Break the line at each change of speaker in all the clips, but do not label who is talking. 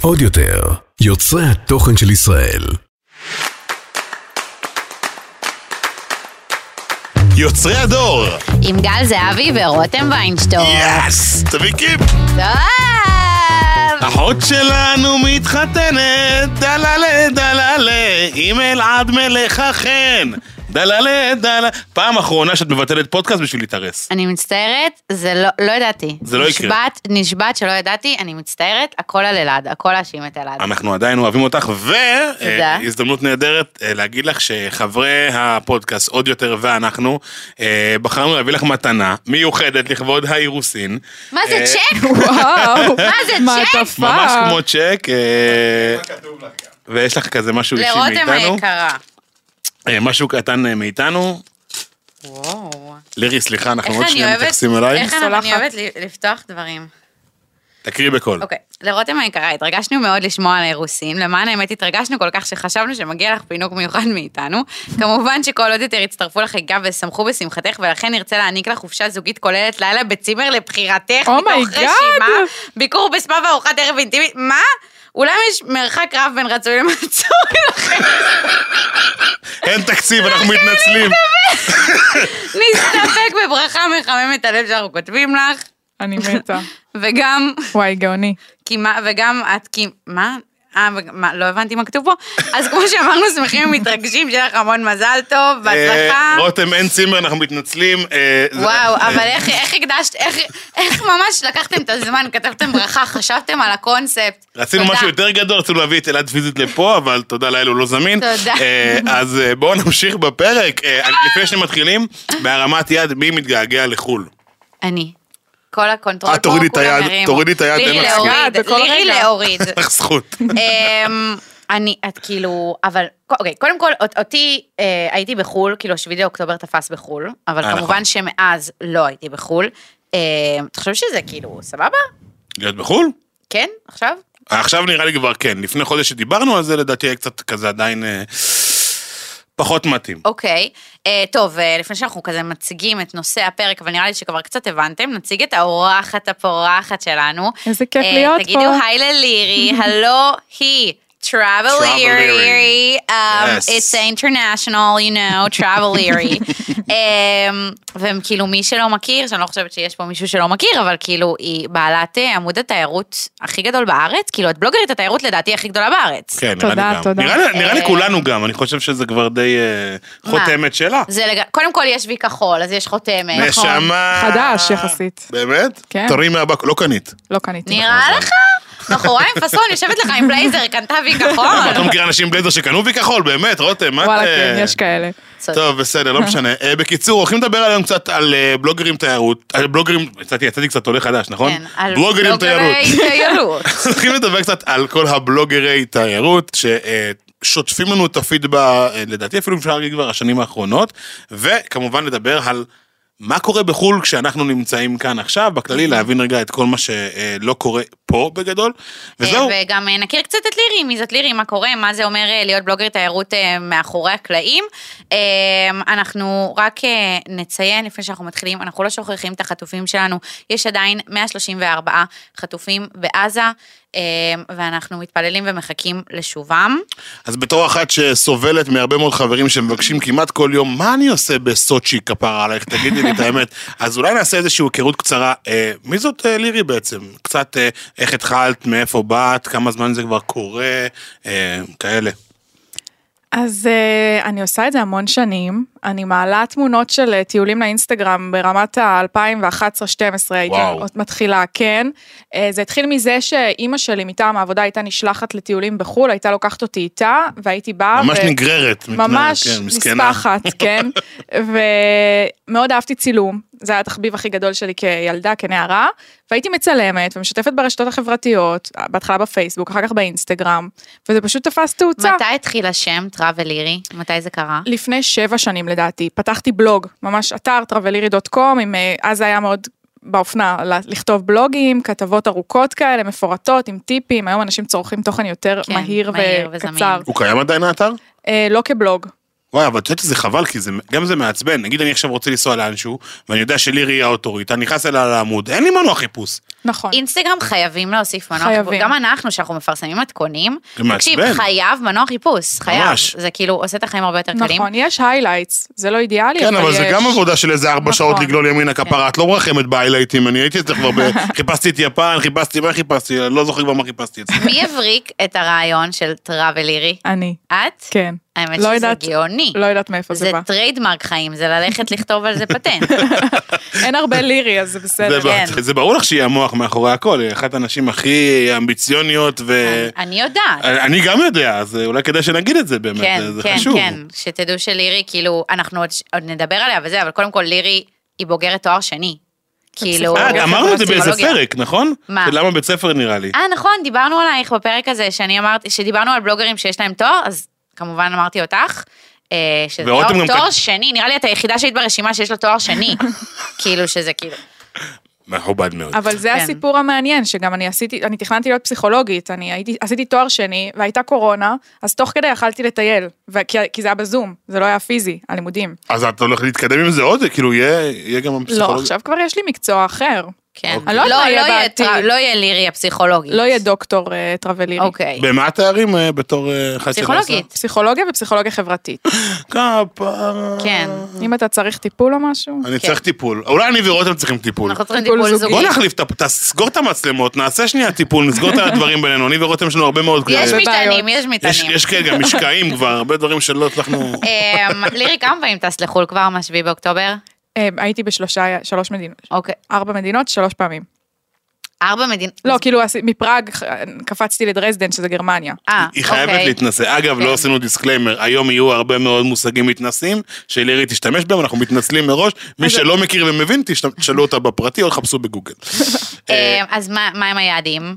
עוד יותר, יוצרי התוכן של ישראל.
יוצרי הדור!
עם גל זהבי ורותם ויינשטור.
יאס! תביקים!
טוב!
אחות שלנו מתחתנת, דללה דללה, עם אלעד מלך החן, דללה דללה. פעם אחרונה שאת מבטלת פודקאסט בשביל להתארס.
אני מצטערת, זה לא, לא ידעתי.
זה לא יקרה.
נשבעת, נשבעת שלא ידעתי, אני מצטערת, הכל על אלעד, הכל להאשים את אלעד.
אנחנו עדיין אוהבים אותך,
תודה.
והזדמנות נהדרת אה, להגיד לך שחברי הפודקאסט, עוד יותר ואנחנו, אה, בחרנו להביא לך מתנה מיוחדת לכבוד האירוסין.
מה זה
אה,
צ'ק?
וואו,
מה זה צ'ק?
מעטפה.
ממש כמו צ'ק, אה, ויש לך כזה משהו אישי
לרותם
מאיתנו.
היקרה.
אה, משהו קטן אה, מאיתנו.
וואו.
לירי, סליחה, אנחנו
איך
עוד
אני
שנייה
אוהבת,
מתייחסים אלייך.
איך אני
סולחת.
אוהבת ל- לפתוח דברים.
תקריא בקול.
אוקיי, לרותם היקרה, התרגשנו מאוד לשמוע על האירוסין, למען האמת התרגשנו כל כך שחשבנו שמגיע לך פינוק מיוחד מאיתנו. כמובן שכל עוד יותר הצטרפו לחגיגה ושמחו בשמחתך, ולכן נרצה להעניק לך חופשה זוגית כוללת לילה בצימר לבחירתך,
Oh my
מתוך
God.
רשימה, ביקור בספא וארוחת ערב אינטימית, מה? אולי יש מרחק רב בין רצוי למצוי לכם,
אין תקציב, אנחנו
אוקיי,
מתנצלים.
נסתפק בברכה מחממת הלב שאנחנו כותבים לך,
אני מתה.
וגם
וואי, גאוני.
כי מה, וגם את, כי, מה? אה, וג- מה, לא הבנתי מה כתוב פה? אז כמו שאמרנו, שמחים ומתרגשים, שיהיה לך המון מזל טוב,
אה,
בהצלחה.
רותם, אין צימר, אנחנו מתנצלים. אה, זה-
וואו,
אה,
אבל איך- איך הקדשת, איך- איך ממש לקחתם את הזמן, כתבתם ברכה, חשבתם על הקונספט.
רצינו
תודה.
משהו יותר גדול, רצינו להביא את אלעד פיזית לפה, אבל תודה לאל, הוא לא זמין.
תודה.
אה, אז אה, בואו נמשיך בפרק. אה, אני- לפני שמתחילים, בהרמת יד, מי מתגעגע לחו"ל?
אני. כל הקונטרול
אה, תורידי
פה,
את
כולם
היד,
הרימו.
תורידי את היד,
לירי
אין לך זכות.
להוריד,
אה, בכל
לירי
רגע.
להוריד.
אין לך זכות.
אמ, אני, את כאילו, אבל, אוקיי, קודם כל, אות- אותי, אה, הייתי בחו"ל, כאילו, 7 באוקטובר תפס בחו"ל,
אה,
אבל
נכון.
כמובן שמאז לא הייתי בחו"ל. אמ, אתה חושב שזה כאילו, סבבה?
להיות בחו"ל?
כן, עכשיו?
עכשיו נראה לי כבר כן. לפני חודש שדיברנו על זה, לדעתי היה קצת כזה עדיין אה, פחות מתאים.
אוקיי. אה, טוב, אה, לפני שאנחנו כזה מציגים את נושא הפרק, אבל נראה לי שכבר קצת הבנתם, נציג את האורחת הפורחת שלנו.
איזה כיף
אה,
להיות
תגידו
פה.
היי ללירי, הלו היא. Travel
Travel-eerie.
Eerie, um,
Yes.
it's international, you know, Travel Eerie. um, וכאילו מי שלא מכיר, שאני לא חושבת שיש פה מישהו שלא מכיר, אבל כאילו היא בעלת אה, עמוד התיירות הכי גדול בארץ, כאילו את בלוגרית התיירות לדעתי הכי גדולה בארץ.
כן, נראה לי
תודה,
גם.
תודה.
נראה לי- נראה לי
אה,
כולנו גם, אני חושב שזה כבר די אה, חותמת שלה.
זה נכון. לג... קודם כל יש וי כחול, אז יש חותמת.
נשמה.
חדש
אה.
יחסית.
באמת?
כן.
תרים מהבק... לא קנית.
אה,
לא קניתי.
נכון.
נראה לך? בחורה עם פאסון יושבת לך עם בלייזר, קנתה וי
למה, את לא
כחול.
מכירה אנשים בלייזר שקנו וי כחול, באמת, רותם, מה את...
וואלה,
אה,
כן, יש כאלה.
טוב, בסדר, לא משנה. אה, בקיצור, הולכים לדבר היום קצת על אה, בלוגרים תיירות. על בלוגרים, יצאתי יצאתי קצת עולה חדש, נכון?
כן, על
בלוגרים תיירות.
תיירות. כן,
הולכים לדבר קצת על כל הבלוגרי תיירות, ששוטפים לנו את הפיד, ב- אה, לדעתי אפילו אפשר להגיד כבר השנים האחרונות, וכמובן לדבר על מה קורה בחו"ל כשאנחנו נמצאים כאן עכשיו, בכללי להבין רגע את כל מה שלא קורה פה בגדול, וזהו.
אה, וגם אה, נכיר קצת את לירי, מי זאת לירי, מה קורה, מה זה אומר אה, להיות בלוגר תיירות אה, מאחורי הקלעים. אה, אנחנו רק אה, נציין לפני שאנחנו מתחילים, אנחנו לא שוכחים את החטופים שלנו, יש עדיין 134 חטופים בעזה, אה, ואנחנו מתפללים ומחכים לשובם.
אז בתור אחת שסובלת מהרבה מאוד חברים שמבקשים כמעט כל יום, מה אני עושה בסוצ'י כפרה עלייך, תגידי לי את האמת. אז אולי נעשה איזושהי היכרות קצרה. אה, מי זאת אה, לירי בעצם? קצת אה, איך התחלת, מאיפה באת, כמה זמן זה כבר קורה, אה, כאלה.
אז אה, אני עושה את זה המון שנים, אני מעלה תמונות של אה, טיולים לאינסטגרם ברמת ה-2011-2012 הייתי
וואו.
עוד מתחילה, כן. אה, זה התחיל מזה שאימא שלי מטעם העבודה הייתה נשלחת לטיולים בחו"ל, הייתה לוקחת אותי איתה, והייתי באה.
ממש
ו-
נגררת. מתנערת,
אוקיי. ממש
כן, מסכנה.
נספחת, כן, ומאוד אהבתי צילום, זה היה התחביב הכי גדול שלי כילדה, כנערה, והייתי מצלמת ומשתפת ברשתות החברתיות, בהתחלה בפייסבוק, אחר כך באינסטגרם, וזה פשוט תפס תאוצה.
מתי התחיל השם טראבל לירי? מתי זה קרה?
לפני שבע שנים לדעתי, פתחתי בלוג, ממש אתר traveliרי.com, עם, אה, אז היה מאוד באופנה ל- לכתוב בלוגים, כתבות ארוכות כאלה, מפורטות, עם טיפים, היום אנשים צורכים תוכן יותר
כן,
מהיר,
מהיר
וקצר.
וזמין.
הוא קיים עדיין האתר?
אה, לא כבלוג,
וואי, אבל את יודעת שזה חבל, כי זה, גם זה מעצבן. נגיד אני עכשיו רוצה לנסוע לאנשהו, ואני יודע שלירי היא האוטוריטה, נכנס אליה לעמוד, אין לי מנוע חיפוש.
נכון.
אינסטגרם חייבים להוסיף מנוע
חייבים.
חיפוש, גם אנחנו שאנחנו מפרסמים מתכונים,
זה מעצבן.
תקשיב, חייב מנוע חיפוש, חייב,
ממש.
זה כאילו עושה את החיים הרבה יותר קלים.
נכון, יש highlights, זה לא אידיאלי,
כן, אבל זה
יש.
גם עבודה של איזה ארבע
נכון.
שעות לגלול ימינה כפרה, את לא מרחמת בהיילייטים, אני הייתי אצלך כבר, ב- חיפשתי את יפן, חיפשתי, מה חיפשתי? אני לא זוכר כבר מה חיפשתי אצלך.
מי הבריק את הרעיון של טראבל אירי?
אני,
את?
כן.
האמת
לא
שזה
יודעת-
גאוני.
לא יודעת מאיפה זה
זה
בא.
טריידמרק חיים, זה ללכת לכתוב על זה פטנט.
אין הרבה לירי, אז זה לא-
זה
בסדר.
כן.
בטח. זה ברור לך שהיא המוח מאחורי הכל, היא אחת הנשים הכי אמביציוניות ו...
אני יודעת.
אני גם יודע, אז אה, אולי כדאי שנגיד את זה אה, באמת, אה,
כן,
זה- זה
כן,
חשוב.
כן, שתדעו שלירי, כאילו, אנחנו עוד, עוד נדבר עליה וזה, אבל קודם כל לירי היא בוגרת תואר שני. כאילו,
אה, אמרנו את זה באיזה
פסיכולוגיה.
פרק, נכון?
מה?
של למה בית ספר נראה לי.
אה, נכון, דיברנו עלייך בפרק הזה, שאני אמרתי, שדיברנו על בלוגרים שיש להם תואר, אז כמובן אמרתי אותך. אה, שזה
ורותם
תואר,
גם
תואר
כת-
שני, נראה לי את היחידה שהיית ברשימה שיש לה תואר שני. כאילו שזה כאילו,
מכובד מאוד.
אבל זה
כן.
הסיפור המעניין, שגם אני עשיתי, אני תכננתי להיות פסיכולוגית, אני הייתי, עשיתי תואר שני, והייתה קורונה, אז תוך כדי יכלתי לטייל, ו- כי, כי זה היה בזום, זה לא היה פיזי, הלימודים.
אז את הולכת להתקדם עם זה עוד? זה כאילו יהיה יהיה גם
לא,
פסיכולוג.
עכשיו כבר יש לי מקצוע אחר.
כן.
אוקיי.
אני לא יודעת
לא
מה יהיה
יהיה
בעתיד.
טרא- לא יהיה לירי הפסיכולוגית.
לא יהיה דוקטור אה, טרבלירי.
אוקיי.
במה התארים אה, בתור אה, אחת של
פסיכולוגית.
פסיכולוגיה ופסיכולוגיה חברתית.
עשר? כפרה.
כן.
אם אתה צריך טיפול או משהו,
אני צריך טיפול. אולי אני ורותם צריכים טיפול.
אנחנו צריכים
טיפול
טיפול
זוגי.
זוגי.
בוא נחליף, את ה- תסגור את המצלמות, נעשה שנייה טיפול, נסגור את הדברים בינינו. אני ורותם יש לנו הרבה מאוד...
יש
כאלה.
בעיות.
מטענים, יש
יש,
מטענים.
יש כן, גם משקעים כבר, הרבה דברים שלא הצלחנו...
אמ, לירי, כמה פעמים טס לחו"ל כבר מה-7 באוקטובר?
אה, הייתי בשלושה, שלוש מדינות,
אוקיי.
ארבע מדינות, שלוש פעמים.
ארבע מדינות.
לא, כאילו עשי- מפראג ח- קפצתי לדרזדן, שזה גרמניה.
אה,
היא חייבת
אוקיי.
להתנשא. אגב,
כן.
לא עשינו דיסקליימר, היום יהיו הרבה מאוד מושגים מתנשאים, שלירי תשתמש בהם, אנחנו מתנצלים מראש. מי שלא מכיר ומבין, תשת- תשאלו אותה בפרטי או תחפשו בגוגל. אה,
אמ, אז מה מה עם היעדים?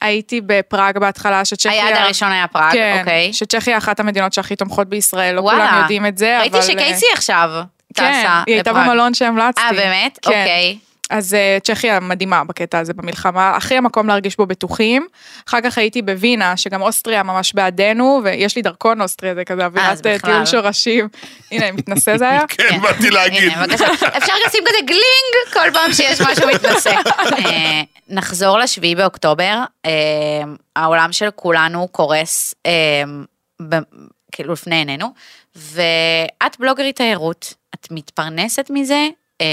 הייתי בפראג בהתחלה, שצ'כיה...
היעד הראשון היה פראג,
כן,
אוקיי.
שצ'כיה אחת המדינות שהכי תומכות בישראל, לא
וואלה.
כולם יודעים את זה, אבל... אה,
ראיתי שקייסי עכשיו טסה
כן,
לפראג.
היא הייתה במלון שהמלצתי.
אה, באמת?
כן.
אוקיי.
אז אה, צ'כיה מדהימה בקטע הזה במלחמה, הכי המקום להרגיש בו בטוחים. אחר כך הייתי בווינה, שגם אוסטריה ממש בעדנו, ויש לי דרכון אוסטריה, זה כזה אווירת אה,
בכלל.
טיול שורשים. הנה, מתנשא זה היה.
כן, באתי להגיד.
אוקיי. הנה, בבקשה. אפשר גם לשים כזה גלינג כל פעם שיש משהו מתנשא. אה, נחזור לשביעי באוקטובר, אה, העולם של כולנו קורס, אה, ב- כאילו לפני עינינו, ואת בלוגרית תיירות, את מתפרנסת מזה, אה,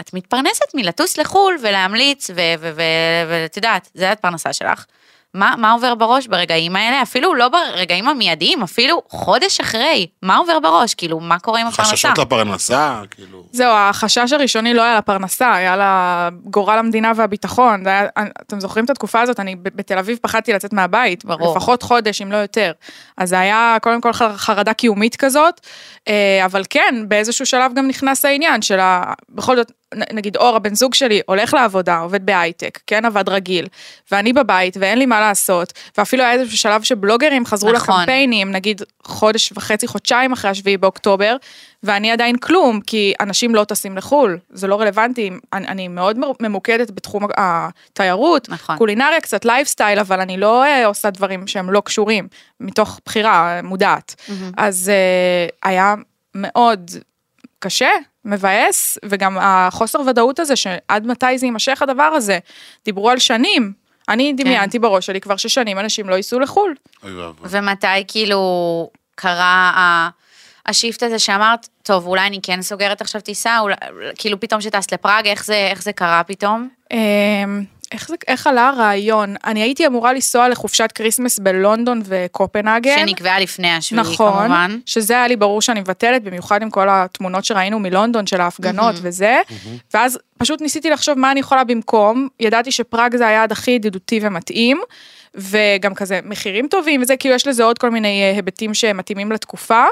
את מתפרנסת מלטוס לחו"ל ולהמליץ, ו- ו- ו- ואת יודעת, זו הפרנסה שלך. מה, מה עובר בראש ברגעים האלה? אפילו לא ברגעים המיידיים, אפילו חודש אחרי. מה עובר בראש? כאילו, מה קורה עם הפרנסה?
חששות לפרנסה, כאילו.
זהו, החשש הראשוני לא היה לפרנסה, היה לגורל המדינה והביטחון. זה היה, אתם זוכרים את התקופה הזאת? אני ב- בתל אביב פחדתי לצאת מהבית,
ברור.
לפחות חודש, אם לא יותר. אז זה היה קודם כל חר- חרדה קיומית כזאת, אה, אבל כן, באיזשהו שלב גם נכנס העניין של ה... בכל זאת, נ- נגיד אור, הבן זוג שלי, הולך לעבודה, עובד בהייטק, כן, עבד רגיל, ואני בבית ואין לי מה לעשות, ואפילו היה איזשהו שלב שבלוגרים חזרו
נכון.
לקמפיין. קמפיינים, נגיד חודש וחצי, חודשיים אחרי השביעי באוקטובר, ואני עדיין כלום, כי אנשים לא טסים לחו"ל, זה לא רלוונטי, אני, אני מאוד מר- ממוקדת בתחום התיירות,
נכון.
קולינריה, קצת לייפסטייל, אבל אני לא אה, עושה דברים שהם לא קשורים, מתוך בחירה אה, מודעת. אז אה, היה מאוד קשה, מבאס, וגם החוסר ודאות הזה, שעד מתי זה יימשך הדבר הזה, דיברו על שנים. אני דמיינתי בראש שלי כבר ששנים אנשים לא ייסעו לחו"ל.
אוי ואבוי.
ומתי כאילו קרה ה- השיפט הזה שאמרת, טוב, אולי אני כן סוגרת עכשיו טיסה, אולי, כאילו פתאום שטסת לפראג, איך זה, איך זה קרה פתאום?
אמ, איך, זה, איך עלה הרעיון? אני הייתי אמורה לנסוע לחופשת כריסמס בלונדון וקופנהגן.
שנקבעה לפני השביעי,
כן. נכון,
כמובן.
שזה היה לי ברור שאני מבטלת, במיוחד עם כל התמונות שראינו מלונדון של ההפגנות וזה, ואז פשוט ניסיתי לחשוב מה אני יכולה במקום, ידעתי שפראג זה היעד הכי ידידותי ומתאים, וגם כזה מחירים טובים וזה, כאילו יש לזה עוד כל מיני אה, היבטים שמתאימים לתקופה,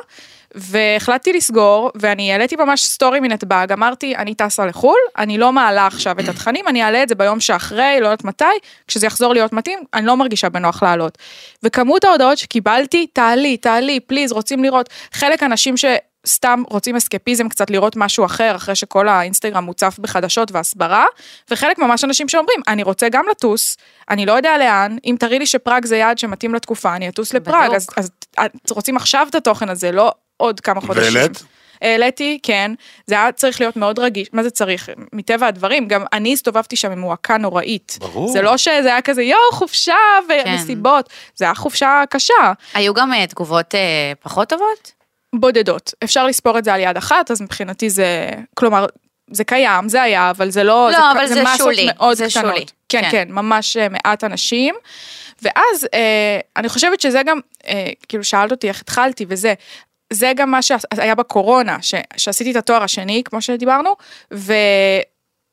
והחלטתי לסגור, ואני העליתי ממש סטורי מנתב"ג, אמרתי, אני טסה לחו"ל, אני לא מעלה עכשיו את התכנים, אני אעלה את זה ביום שאחרי, לא יודעת מתי, כשזה יחזור להיות מתאים, אני לא מרגישה בנוח לעלות. וכמות ההודעות שקיבלתי, תעלי, תעלי, פליז, רוצים לראות. חלק אנשים שסתם רוצים אסקפיזם, קצת לראות משהו אחר, אחרי שכל האינסטגרם מוצף בחדשות והסברה, וחלק ממש אנשים שאומרים, אני רוצה גם לטוס, אני לא יודע לאן, אם תראי לי שפראג זה יעד שמתאים לתקופה, אני אטוס לפראג,
בדיוק.
אז, אז, אז רוצים עכשיו את התוכן הזה, לא עוד כמה חודשים.
והעלית?
העליתי, כן, זה היה צריך להיות מאוד רגיש, מה זה צריך? מטבע הדברים, גם אני הסתובבתי שם עם מועקה נוראית.
ברור.
זה לא שזה היה כזה, יואו, חופשה
כן.
ומסיבות, זה היה חופשה קשה.
היו גם אה, תגובות אה, פחות טובות?
בודדות. אפשר לספור את זה על יד אחת, אז מבחינתי זה, כלומר, זה קיים, זה היה, אבל זה לא,
לא,
זה,
אבל זה
מסות
שולי,
מאוד
זה
קטנות.
שולי,
כן,
כן.
כן, כן, ממש אה, מעט אנשים. ואז אה, אני חושבת שזה גם, אה, כאילו שאלת אותי איך התחלתי וזה, זה גם מה שהיה בקורונה, ש, שעשיתי את התואר השני, כמו שדיברנו, ו...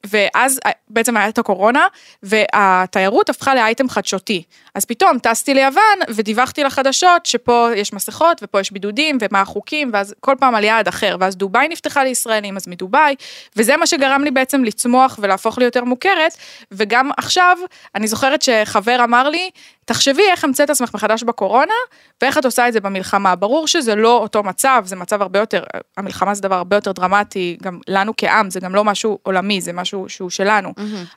ואז אה, בעצם היה את הקורונה, והתיירות הפכה לאייטם חדשותי. אז פתאום טסתי ליוון ודיווחתי לחדשות שפה יש מסכות ופה יש בידודים ומה החוקים, ואז כל פעם על יעד אחר, ואז דובאי נפתחה לישראלים, אז מדובאי, וזה מה שגרם לי בעצם לצמוח ולהפוך ליותר מוכרת, וגם עכשיו, אני זוכרת שחבר אמר לי, תחשבי איך המצאת עצמך מחדש בקורונה, ואיך את עושה את זה במלחמה. ברור שזה לא אותו מצב, זה מצב הרבה יותר, המלחמה זה דבר הרבה יותר דרמטי, גם לנו כעם, זה גם לא משהו עולמי, זה משהו שהוא שלנו.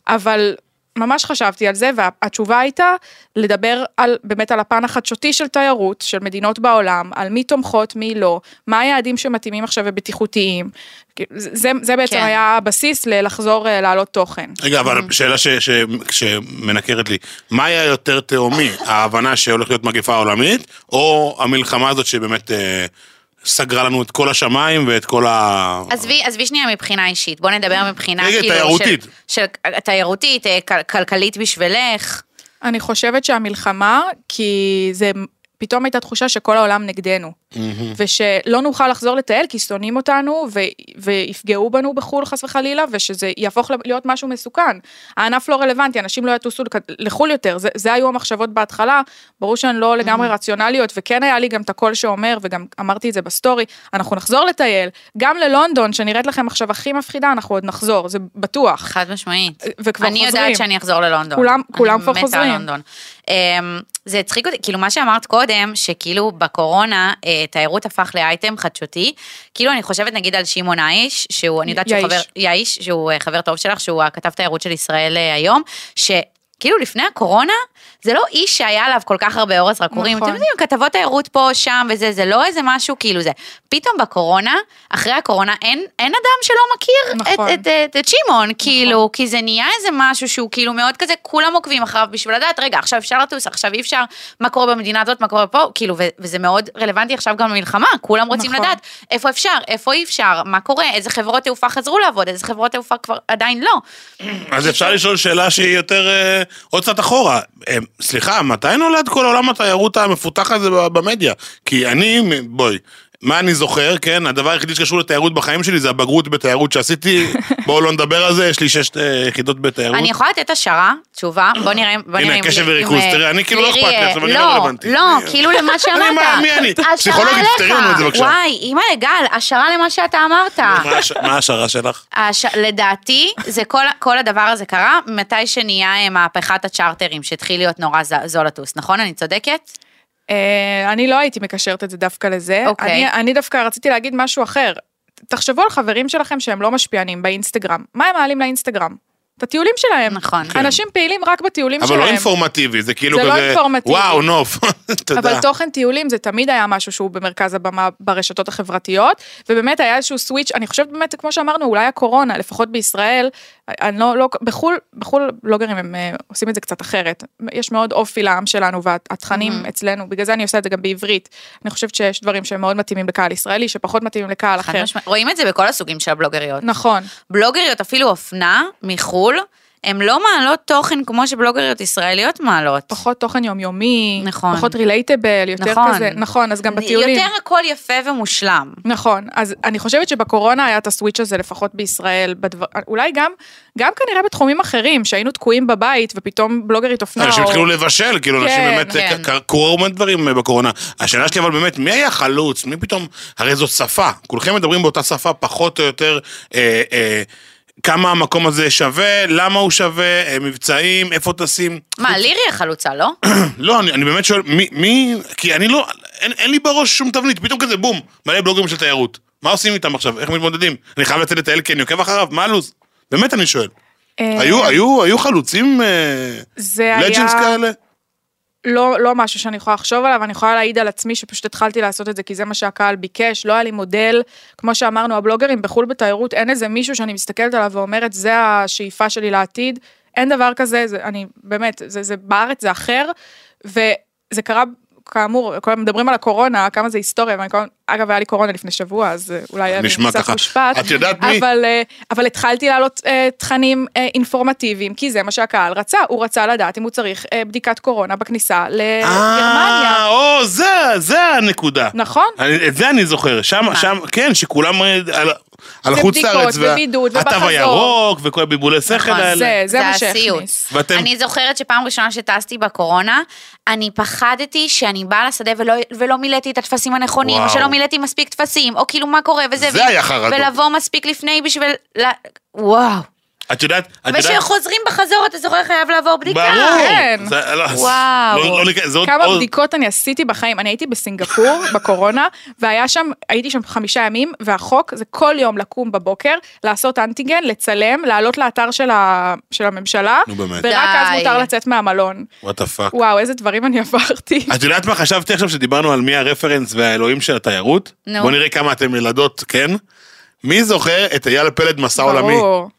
אבל ממש חשבתי על זה, והתשובה הייתה לדבר על, באמת על הפן החדשותי של תיירות, של מדינות בעולם, על מי תומכות, מי לא, מה היעדים שמתאימים עכשיו ובטיחותיים. זה, זה- זה בעצם
כן.
היה הבסיס ללחזור אה, להעלות תוכן.
רגע, אבל שאלה ש- ש- שמנקרת לי, מה היה יותר תהומי, ההבנה שהולך להיות מגפה עולמית, או המלחמה הזאת שבאמת אה, סגרה לנו את כל השמיים ואת כל ה...
עזבי, עזבי שנייה מבחינה אישית, בוא נדבר מבחינה
אה. רגע,
כאילו...
תיירותית.
של, של תיירותית, אה, כל, כלכלית בשבילך.
אני חושבת שהמלחמה, כי זה פתאום הייתה תחושה שכל העולם נגדנו, ושלא נוכל לחזור לטייל כי שונאים אותנו ו... ויפגעו בנו בחו"ל חס וחלילה, ושזה יהפוך להיות משהו מסוכן. הענף לא רלוונטי, אנשים לא יטוסו לכ- לחו"ל יותר, זה, זה היו המחשבות בהתחלה, ברור שהן לא לגמרי רציונליות, וכן היה לי גם את הקול שאומר, וגם אמרתי את זה בסטורי, אנחנו נחזור לטייל, גם ללונדון, שנראית לכם עכשיו הכי מפחידה, אנחנו עוד נחזור, זה בטוח.
חד משמעית.
וכבר
אני
חוזרים.
יודעת שאני אחזור ללונדון.
כולם- כולם כבר
אני מתה
חוזרים.
על לונדון. אמ, זה הצחיק אותי, כאילו מה שאמרת קודם, שכאילו בקורונה אה, תיירות הפך לאייטם חדשותי, כאילו אני חושבת נגיד על שמעון האיש, שהוא, אני יודעת שהוא
יאיש.
חבר, יאיש, שהוא אה, חבר טוב שלך, שהוא הכתב תיירות של ישראל אה, היום, ש... כאילו לפני הקורונה, זה לא איש שהיה עליו כל כך הרבה אור הזרקורים.
נכון.
אתם יודעים, כתבות תיירות פה, שם וזה, זה לא איזה משהו כאילו זה. פתאום בקורונה, אחרי הקורונה, אין, אין אדם שלא מכיר
נכון.
את, את, את, את שמעון, כאילו, כי זה נהיה איזה משהו שהוא כאילו מאוד כזה, כולם עוקבים אחריו בשביל לדעת, רגע, עכשיו אפשר לטוס, עכשיו אי אפשר, מה קורה במדינה הזאת, מה קורה פה, כאילו, ו- וזה מאוד רלוונטי עכשיו גם למלחמה, כולם רוצים
נכון.
לדעת איפה אפשר, איפה אי אפשר, מה קורה, איזה חברות תעופה חזרו לעבוד, איזה חברות תעופה כבר עדיין לא.
אז אפשר לשאול שאלה שהיא יותר אה, עוד קצת אחורה. אה, סליחה, מתי נולד כל עולם התיירות המפותח הזה ב- במדיה? כי אני, מ- בואי, מה אני זוכר, כן? הדבר היחידי שקשור לתיירות בחיים שלי זה הבגרות בתיירות שעשיתי. בואו לא נדבר על זה, יש לי שש אה, יחידות בתיירות.
אני יכולה לתת השערה, תשובה, בוא נראה, בוא
הנה,
נראה. אם-
קשב
אם-
וריכוז,
אם,
תראה, אני כאילו לא
לירי,
אכפת לי,
אה,
עכשיו אני לא רלוונטי.
לא,
אני-
כאילו למה שאמרת.
מה, מי אני?
השערה
פסיכולוגית, תפתרי
עליך.
לנו את זה בבקשה. נכון.
וואי, אימא גל, השערה למה שאתה אמרת.
מה הש- מה השערה שלך?
הש... לדעתי, זה כל, כל הדבר הזה קרה מתי שנהיה אה, מהפכת הצ'רטרים, שהתחיל להיות נורא ז... זול לטוס, נכון? אני צודקת?
אה, אני לא הייתי מקשרת את זה דווקא לזה.
אוקיי.
אני, אני דווקא רציתי להגיד משהו אחר. תחשבו על חברים שלכם שהם לא משפיענים באינסטגרם. מה הם מעלים לאינסטגרם? את הטיולים שלהם.
נכון. כן.
אנשים פעילים רק בטיולים
אבל
שלהם.
לא אינפורמטיבי, זה כאילו
זה
כזה...
לא אינפורמטיבי.
וואו, נוף. תודה.
אבל תוכן טיולים זה תמיד היה משהו שהוא במרכז הבמה ברשתות החברתיות, ובאמת היה איזשהו סוויץ', אני חושבת באמת, כמו שאמרנו, אולי הקורונה, לפחות בישראל, אני לא, לא, בחו"ל, בחו"ל בלוגרים הם אה, עושים את זה קצת אחרת. יש מאוד אופי לעם שלנו והתכנים
Mhm.
אצלנו, בגלל זה אני עושה את זה גם בעברית. אני חושבת שיש דברים שהם מאוד מתאימים לקהל ישראלי, שפחות מתאימים לקהל
חד
אחר.
משמע- רואים את זה בכל הסוגים של הבלוגריות.
נכון.
בלוגריות, אפילו אופנה, מחו"ל, הן לא מעלות תוכן כמו שבלוגריות ישראליות מעלות.
פחות תוכן יומיומי,
נכון.
פחות רילייטבל, נכון. יותר
נכון.
כזה, נכון, אז גם בטיולים.
יותר הכל יפה ומושלם.
נכון, אז אני חושבת שבקורונה היה את הסוויץ' הזה לפחות בישראל, בדבר, אולי גם, גם כנראה בתחומים אחרים, שהיינו תקועים בבית ופתאום בלוגרית אופנה,
אנשים
או-
התחילו לבשל, כאילו אנשים
כן,
באמת,
כן.
ק- ק- קרו הרבה דברים אה, בקורונה. השאלה שלי אבל באמת, מי היה חלוץ? מי פתאום, הרי זו שפה, כולכם מדברים באותה שפה פחות או יותר, אה, אה, כמה המקום הזה שווה, למה הוא שווה, אה, מבצעים, איפה טסים.
נכון.
מה, לירי החלוצה, לא?
לא, אני, אני באמת שואל, מי, מי, כי אני לא, אין, אין לי בראש שום תבנית, פתאום כזה בום, מלא בלוגרים של תיירות. מה עושים איתם עכשיו? איך מתמודדים? אני חייב לצאת לטייל כי אני עוקב אחריו, מה הלו"ז? באמת אני שואל.
אה,
היו, היו, היו חלוצים, אה,
זה היה...
לג'נדס כאלה?
לא, לא משהו שאני יכולה לחשוב עליו, אני יכולה להעיד על עצמי שפשוט התחלתי לעשות את זה כי זה מה שהקהל ביקש, לא היה לי מודל, כמו שאמרנו, הבלוגרים בחו"ל בתיירות, אין איזה מישהו שאני מסתכלת עליו ואומרת, זה השאיפה שלי לעתיד, אין דבר כזה, זה, אני, באמת, זה, זה בארץ, זה אחר, וזה קרה, כאמור, כל הזמן מדברים על הקורונה, כמה זה היסטוריה, ואני כל... אגב, היה לי קורונה לפני שבוע, אז אה, אולי אני
נשמע
קצת
ככה.
מושפעת.
את יודעת מי?
אבל, אה, אבל התחלתי להעלות אה, תכנים אה, אינפורמטיביים, כי זה מה שהקהל רצה, הוא רצה לדעת אם הוא צריך אה, בדיקת קורונה בכניסה לגרמניה.
אה, או, זה, זה הנקודה.
נכון?
אני- את זה אני זוכר, שם, שם, כן, שכולם אה, על- על
זה
החוץ
בדיקות,
לארץ, וה-
ובידוד,
התו
ובחזור.
הירוק, וכל הבלבולי שכל
נכון,
האלה.
זה, זה מה שהכניס.
הסיוט.
ואתם-
אני זוכרת שפעם ראשונה שטסתי בקורונה, אני פחדתי שאני באה לשדה ולא, ולא מילאתי את הטפסים הנכונים,
וואו.
או שלא מילאתי מספיק טפסים, או כאילו מה קורה וזה.
זה
ו-
היה חרדות.
ולבוא מספיק לפני בשביל... ל- וואו.
את יודעת, את יודעת,
וכשחוזרים בחזור, אתה זוכר, חייב לעבור בדיקה.
כן.
ברור. זה- לא,
וואו.
לא- לא ניכנס, זה עוד-
כמה
עוד-
בדיקות אני עשיתי בחיים, אני הייתי בסינגפור בקורונה, והיה שם, הייתי שם חמישה ימים, והחוק זה כל יום לקום בבוקר, לעשות אנטיגן, לצלם, לעלות לאתר של, ה, של הממשלה,
נו, באמת.
ורק אז
די.
מותר לצאת מהמלון.
וואט הפאק.
וואו, איזה דברים אני עברתי.
את יודעת מה חשבתי עכשיו שדיברנו על מי הרפרנס והאלוהים של התיירות?
נו.
בוא נראה כמה אתם ילדות, כן? מי זוכר את אייל פלד מסע עולמי?
ברור.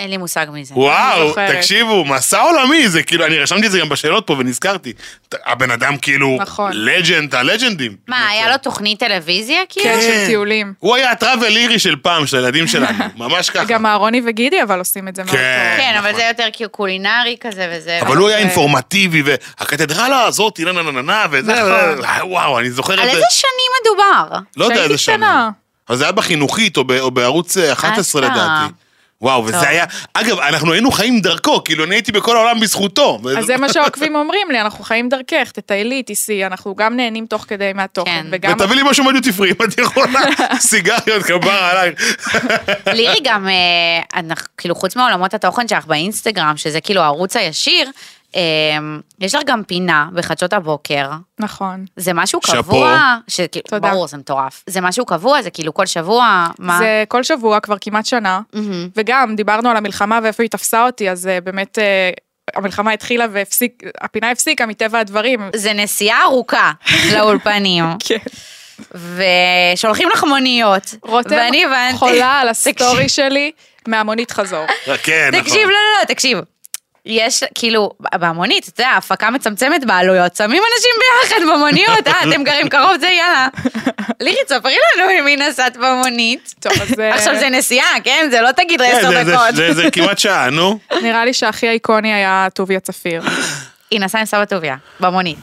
אין לי מושג מזה.
וואו,
זוכרת.
תקשיבו, מסע עולמי, זה כאילו, אני רשמתי את זה גם בשאלות פה ונזכרתי. ת- הבן אדם כאילו,
נכון.
לג'נד, הלג'נדים.
מה, היה לו תוכנית טלוויזיה כאילו?
כן, של טיולים.
הוא היה הטראבל אירי של פעם, של הילדים שלנו, ממש ככה.
גם אהרוני וגידי אבל עושים את זה מאוד
כן.
טוב.
כן, אבל
נכון.
זה יותר כאילו קולינרי כזה וזה.
אבל הוא היה
זה-
אינפורמטיבי, והקתדרלה הזאת, נה נה נה נה נה, וזה,
נכון.
וזה, וואו, אני זוכר
על
את זה.
איזה שנים מדובר?
לא יודע
כשהייתי
איזה שנה.
קטנה.
אבל זה היה בחינוכית או, ב, או בערוץ אה, 11
אשכרה.
לדעתי. וואו,
טוב.
וזה היה, אגב, אנחנו היינו חיים דרכו, כאילו אני הייתי בכל העולם בזכותו.
אז זה מה שהעוקבים אומרים לי, אנחנו חיים דרכך, תטיילי, תיסעי, אנחנו גם נהנים תוך כדי מהתוכן,
כן.
וגם...
ותביא לי משהו מדיוטיפרי, אם את יכולה, סיגריות כבר עלייך.
לירי גם, אה, אנחנו, כאילו, חוץ מעולמות התוכן שלך באינסטגרם, שזה כאילו הערוץ הישיר, אה, יש לך גם פינה בחדשות הבוקר.
נכון.
זה משהו
שאפו.
קבוע, שכאילו,
תודה.
ברור, זה מטורף. זה משהו קבוע, זה כאילו כל שבוע, מה?
זה כל שבוע, כבר כמעט שנה, וגם דיברנו על המלחמה ואיפה היא תפסה אותי, אז אה, באמת אה, המלחמה התחילה והפסיק, הפינה הפסיקה מטבע הדברים.
זה נסיעה ארוכה לאולפנים,
כן.
ושולחים לך מוניות.
רותם
ואני הבנתי.
חולה על הסטורי
תקשיב-
שלי מהמונית חזור.
כן, נכון.
תקשיב, לא, לא, לא, תקשיב. יש, כאילו, במונית, אתה יודע, ההפקה מצמצמת בעלויות, שמים אנשים ביחד במוניות, אה, אתם גרים קרוב, זה יאללה. לירי, תספרי לנו עם מי נסעת במונית.
טוב, אז אה,
עכשיו זה נסיעה, כן? זה לא תגיד
כן,
לעשר
זה- זה- זה-
דקות.
זה כמעט שעה, נו.
נראה לי שהכי איקוני היה טוביה צפיר.
היא נסעה עם סבא טוביה, במונית.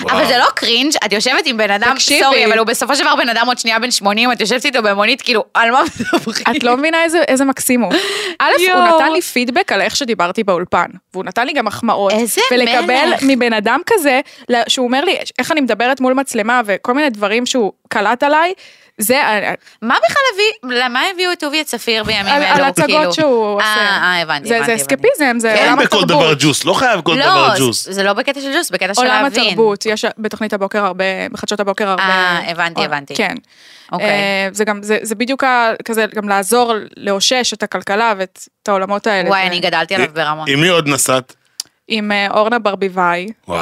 וואו.
אבל זה לא קרינג', את יושבת עם בן אדם,
תקשיבי.
סורי, אבל הוא בסופו של דבר בן אדם עוד שנייה בן 80, את יושבת איתו במונית, כאילו, על מה מדברים?
את לא מבינה איזה, איזה מקסים הוא. א', הוא
יואו.
נתן לי פידבק על איך שדיברתי באולפן, והוא נתן לי גם מחמאות.
איזה
ולקבל
מלך.
מבן אדם כזה, ל- שהוא אומר לי איך אני מדברת מול מצלמה וכל מיני דברים שהוא קלט עליי, זה, אה,
מה בכלל הביא, למה הביאו את טוביה צפיר בימים
על-
אלו?
על הצגות
כאילו?
שהוא עושה.
אה, אה, הבנתי,
זה,
הבנתי.
זה
הבנתי.
אסקפיזם,
כן,
זה
אין
עולם
כן, בכל
התרבות.
דבר ג'וס, לא חייב כל דבר
לא,
ג'וס.
זה לא בקטע של ג'וס, בקטע של
עולם
להבין.
התרבות, יש בתוכנית הבוקר הרבה, בחדשות הבוקר הרבה.
אה, הבנתי,
עול-
הבנתי.
כן.
אוקיי.
אה, זה גם, זה זה בדיוק ה- כזה, גם לעזור לאושש את הכלכלה ואת את העולמות האלה.
וואי,
זה-
אני גדלתי עליו ברמות.
עם מי עוד נסעת?
עם אה, אורנה ברביבאי.
וואו.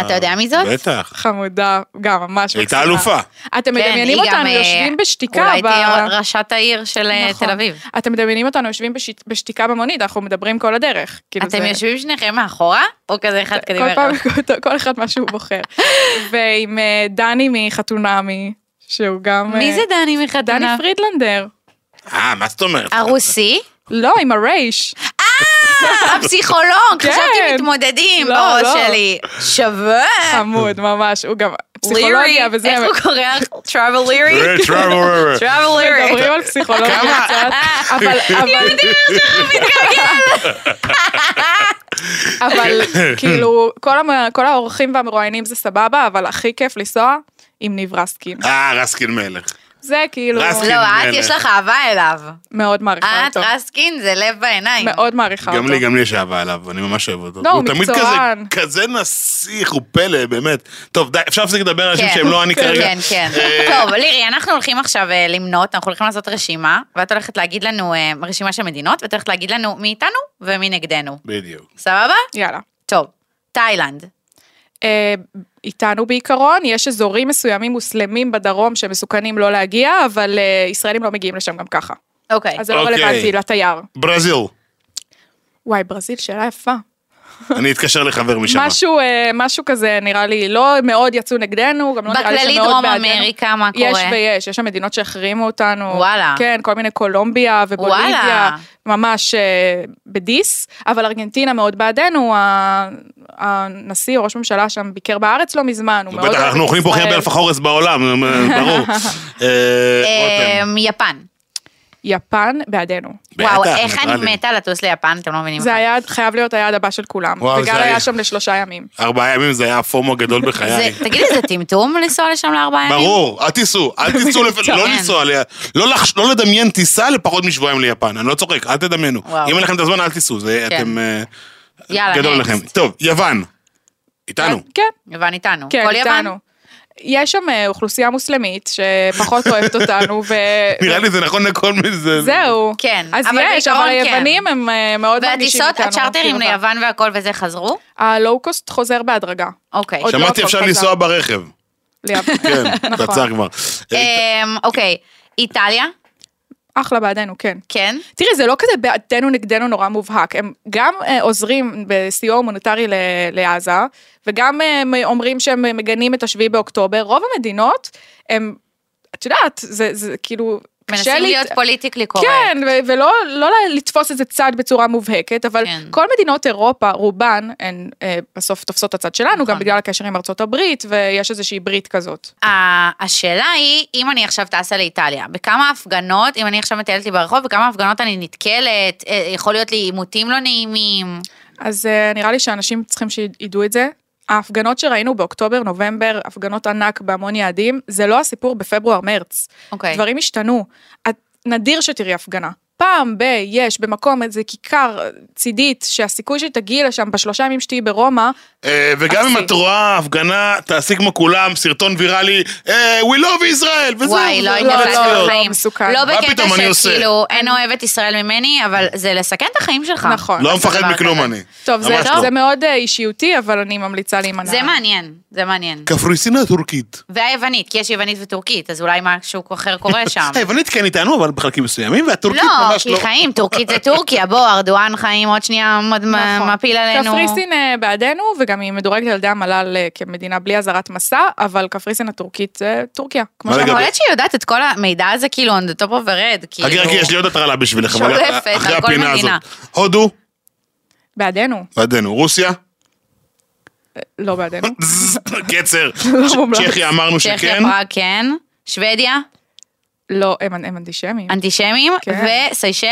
אתה יודע מי זאת?
בטח.
חמודה, גם ממש
היא הייתה
מקסימה.
אלופה.
אתם
כן,
מדמיינים
היא גם,
אותנו
אה,
יושבים בשתיקה
אולי
ב...
תהיה ראשת העיר של אה,
נכון.
תל אביב.
אתם מדמיינים אותנו יושבים בש- בשתיקה במונית, אנחנו מדברים כל הדרך. כאילו
אתם
זה-
יושבים שניכם מאחורה, או כזה אחד
כל
קדימה?
פעם,
אחד?
כל אחד מה שהוא בוחר. ועם אה, דני מחתונמי, שהוא גם... אה,
מי זה דני
דני
מחתונה?
פרידלנדר.
אה, מה זאת אומרת?
הרוסי?
לא, עם הרייש.
אה, הפסיכולוג,
כן.
חשבתי מתמודדים
לא,
בראש
לא.
שלי. שווה.
חמוד, ממש, הוא גם
לירי,
פסיכולוגיה וזה.
איך הוא
אבל-
קורא לך? טראבל לירי?
אה, טראבל,
טראבל לירי.
מדברים על פסיכולוגיה
כמה-
קצת, אבל, אבל, אבל כאילו, כל, המ... כל האורחים והמרואיינים זה סבבה, אבל הכי כיף לנסוע עם ניב רסקין.
אה, רסקין מלך.
זה כאילו,
רסקין.
לא, את
מלך.
יש לך אהבה אליו.
מאוד מעריכה
אה, את
אותו.
רסקין זה לב בעיניים.
נכון, מאוד מעריכה אותו.
גם לי, גם לי יש אהבה עליו, אני ממש אוהב אותו.
לא, הוא
תמיד
מקצוען.
כזה, כזה נסיך, הוא פלא, באמת. טוב, די, אפשר להפסיק לדבר על אנשים
כן,
שהם לא אני כרגע. אה,
כן, כן. טוב, לירי, אנחנו הולכים עכשיו אה, למנות, אנחנו הולכים לעשות רשימה, ואת הולכת להגיד לנו, אה, רשימה של מדינות, ואת הולכת להגיד לנו מי איתנו ומי נגדנו.
בדיוק.
סבבה?
יאללה.
טוב, תאילנד,
אה, איתנו בעיקרון, יש אזורים מסוימים מוסלמים בדרום שמסוכנים לא להגיע, אבל אה, ישראלים לא מגיעים לשם גם ככה.
אוקיי.
אז זה לא
אוקיי.
רלוונטי לתייר.
ברזיל.
וואי, ברזיל, שאלה יפה.
אני אתקשר לחבר משם.
משהו, אה, משהו כזה נראה לי, לא מאוד יצאו נגדנו, גם לא נראה לי
בכללי
שמאוד
דרום
בעדנו.
אמריקה, מה
יש
קורה?
ויש, יש שם מדינות שהחרימו אותנו.
וואלה.
כן, כל מיני קולומביה ובוליביה,
וואלה.
ממש אה, בדיס, אבל ארגנטינה מאוד בעדנו, ה- הנשיא, ראש ממשלה שם ביקר בארץ לא מזמן, הוא מאוד
בטח,
אוהב
אנחנו אוכלים פה הכי הרבה
ישראל.
אלף החורס בעולם, ברור. אה,
אה,
רותם.
יפן.
יפן בעדנו.
וואו,
בטח,
איך אני
ניטרלי.
מתה לטוס ליפן, אתם לא מבינים.
זה היה, חייב להיות היעד הבא של כולם.
וואו,
וגל
זה היה-
היה שם לשלושה ימים.
ארבעה ימים זה היה הפומו הגדול בחיי.
זה- תגידי, זה טמטום לנסוע לשם לארבעה ימים?
ברור, אל תיסעו, אל תיסעו, לפ-
מצוין.
לא לנסוע, ל- לא לחש- לא לדמיין טיסה לפחות משבועיים ליפן, אני לא צוחק, אל תדמיינו.
וואו.
אם אין לכם את הזמן, אל תיסעו, זה
כן.
אתם... אה,
יאללה,
גדול
next. אה,
לכם. טוב, יוון. איתנו.
כן,
יוון איתנו.
כן,
כל יוון?
איתנו. יש שם אה, אוכלוסייה מוסלמית שפחות אוהבת אותנו, ו...
נראה לי זה נכון לכל מי זה.
זהו.
כן,
אז
אבל
יש,
בעיקרון
אבל
כן.
היוונים הם אה, מאוד מרגישים
והטיסות,
איתנו.
הצ'רטרים
כאילו,
ליוון והכל וזה חזרו?
הלואו-קוסט חוזר בהדרגה.
אוקיי.
עוד-
שמעתי
לא
אפשר
הכל
לנסוע
חזר.
ברכב.
ליוון.
כן,
נכון.
יצא כבר. אה,
אמ, אוקיי, איטליה?
אחלה בעדנו, כן.
כן.
תראי, זה לא כזה בעדנו נגדנו נורא מובהק, הם גם אה, עוזרים בסיוע הומניטרי ל- לעזה, וגם אה, הם אומרים שהם מגנים את השביעי באוקטובר, רוב המדינות הם, את יודעת, זה, זה כאילו, קשה
מנסים
לי-
להיות פוליטיקלי קורקט.
כן, ו- ולא לא ל- לתפוס איזה צד בצורה מובהקת, אבל
כן.
כל מדינות אירופה, רובן, הן אה, בסוף תופסות את הצד שלנו,
נכון.
גם בגלל הקשר עם ארצות הברית, ויש איזושהי ברית כזאת.
ה- השאלה היא, אם אני עכשיו טסה לאיטליה, בכמה הפגנות, אם אני עכשיו מטיילת לי ברחוב, בכמה הפגנות אני נתקלת, אה, יכול להיות לי עימותים לא נעימים.
אז אה, נראה לי שאנשים צריכים שידעו את זה. ההפגנות שראינו באוקטובר, נובמבר, הפגנות ענק בהמון יעדים, זה לא הסיפור בפברואר-מרץ.
אוקיי.
דברים השתנו. את- נדיר שתראי הפגנה. פעם ב... יש במקום איזה כיכר אה, צידית, שהסיכוי שתגיעי לשם בשלושה ימים שתהיי ברומא,
אה, וגם אם
אפסי.
את רואה הפגנה, תעשי כמו כולם, סרטון ויראלי, אה, We love Israel, וזהו.
וואי, לא
זה
הייתי
לא,
עושה את
לא,
זה
לא,
בחיים.
מסוכן.
לא
מה
בקטע
פתאום, אני עושה?
שכאילו, אין אוהבת ישראל ממני, אבל זה לסכן את החיים שלך.
נכון.
לא
לעשות
מפחד
דבר
מכלום
כזה.
אני.
טוב, זה,
ממש לא.
זה מאוד אה, אישיותי, אבל אני ממליצה להימנע. נכון.
זה מעניין, זה מעניין.
קפריסין הטורקית.
והיוונית, כי יש יוונית וטורקית, אז אולי משהו אחר קורה שם.
היוונית כן איתנו, אבל בחלקים מסוימים, והטורקית
לא,
ממש
כי
לא.
חיים, טורקית זה טורקיה, בוא, ארדואן חיים עוד שנייה מד-
נכון.
מפיל עלינו.
קפריסין אה, בעדנו, וגם היא מדורגת על ידי המל"ל אה, כמדינה בלי אזהרת מסע, אבל קפריסין הטורקית זה טורקיה, כמו
מה
שאמרת.
לגבי-
יכול להיות שהיא יודעת את כל המידע הזה, כאילו, on the top of the red, כאילו.
חכי, חכי, יש לי עוד הטרלה בשבילך, אבל
שולפת
אחרי
על כל
הפינה הזאת.
מדינה.
הודו,
בעדנו,
בעדנו, רוסיה,
לא בעדנו.
קצר.
לא מומלץ.
צ'כיה אמרנו
צ'כיה,
שכן.
פראג, כן. שוודיה,
לא, הם הם אנטישמים,
אנטישמים,
כן.
וסיישל,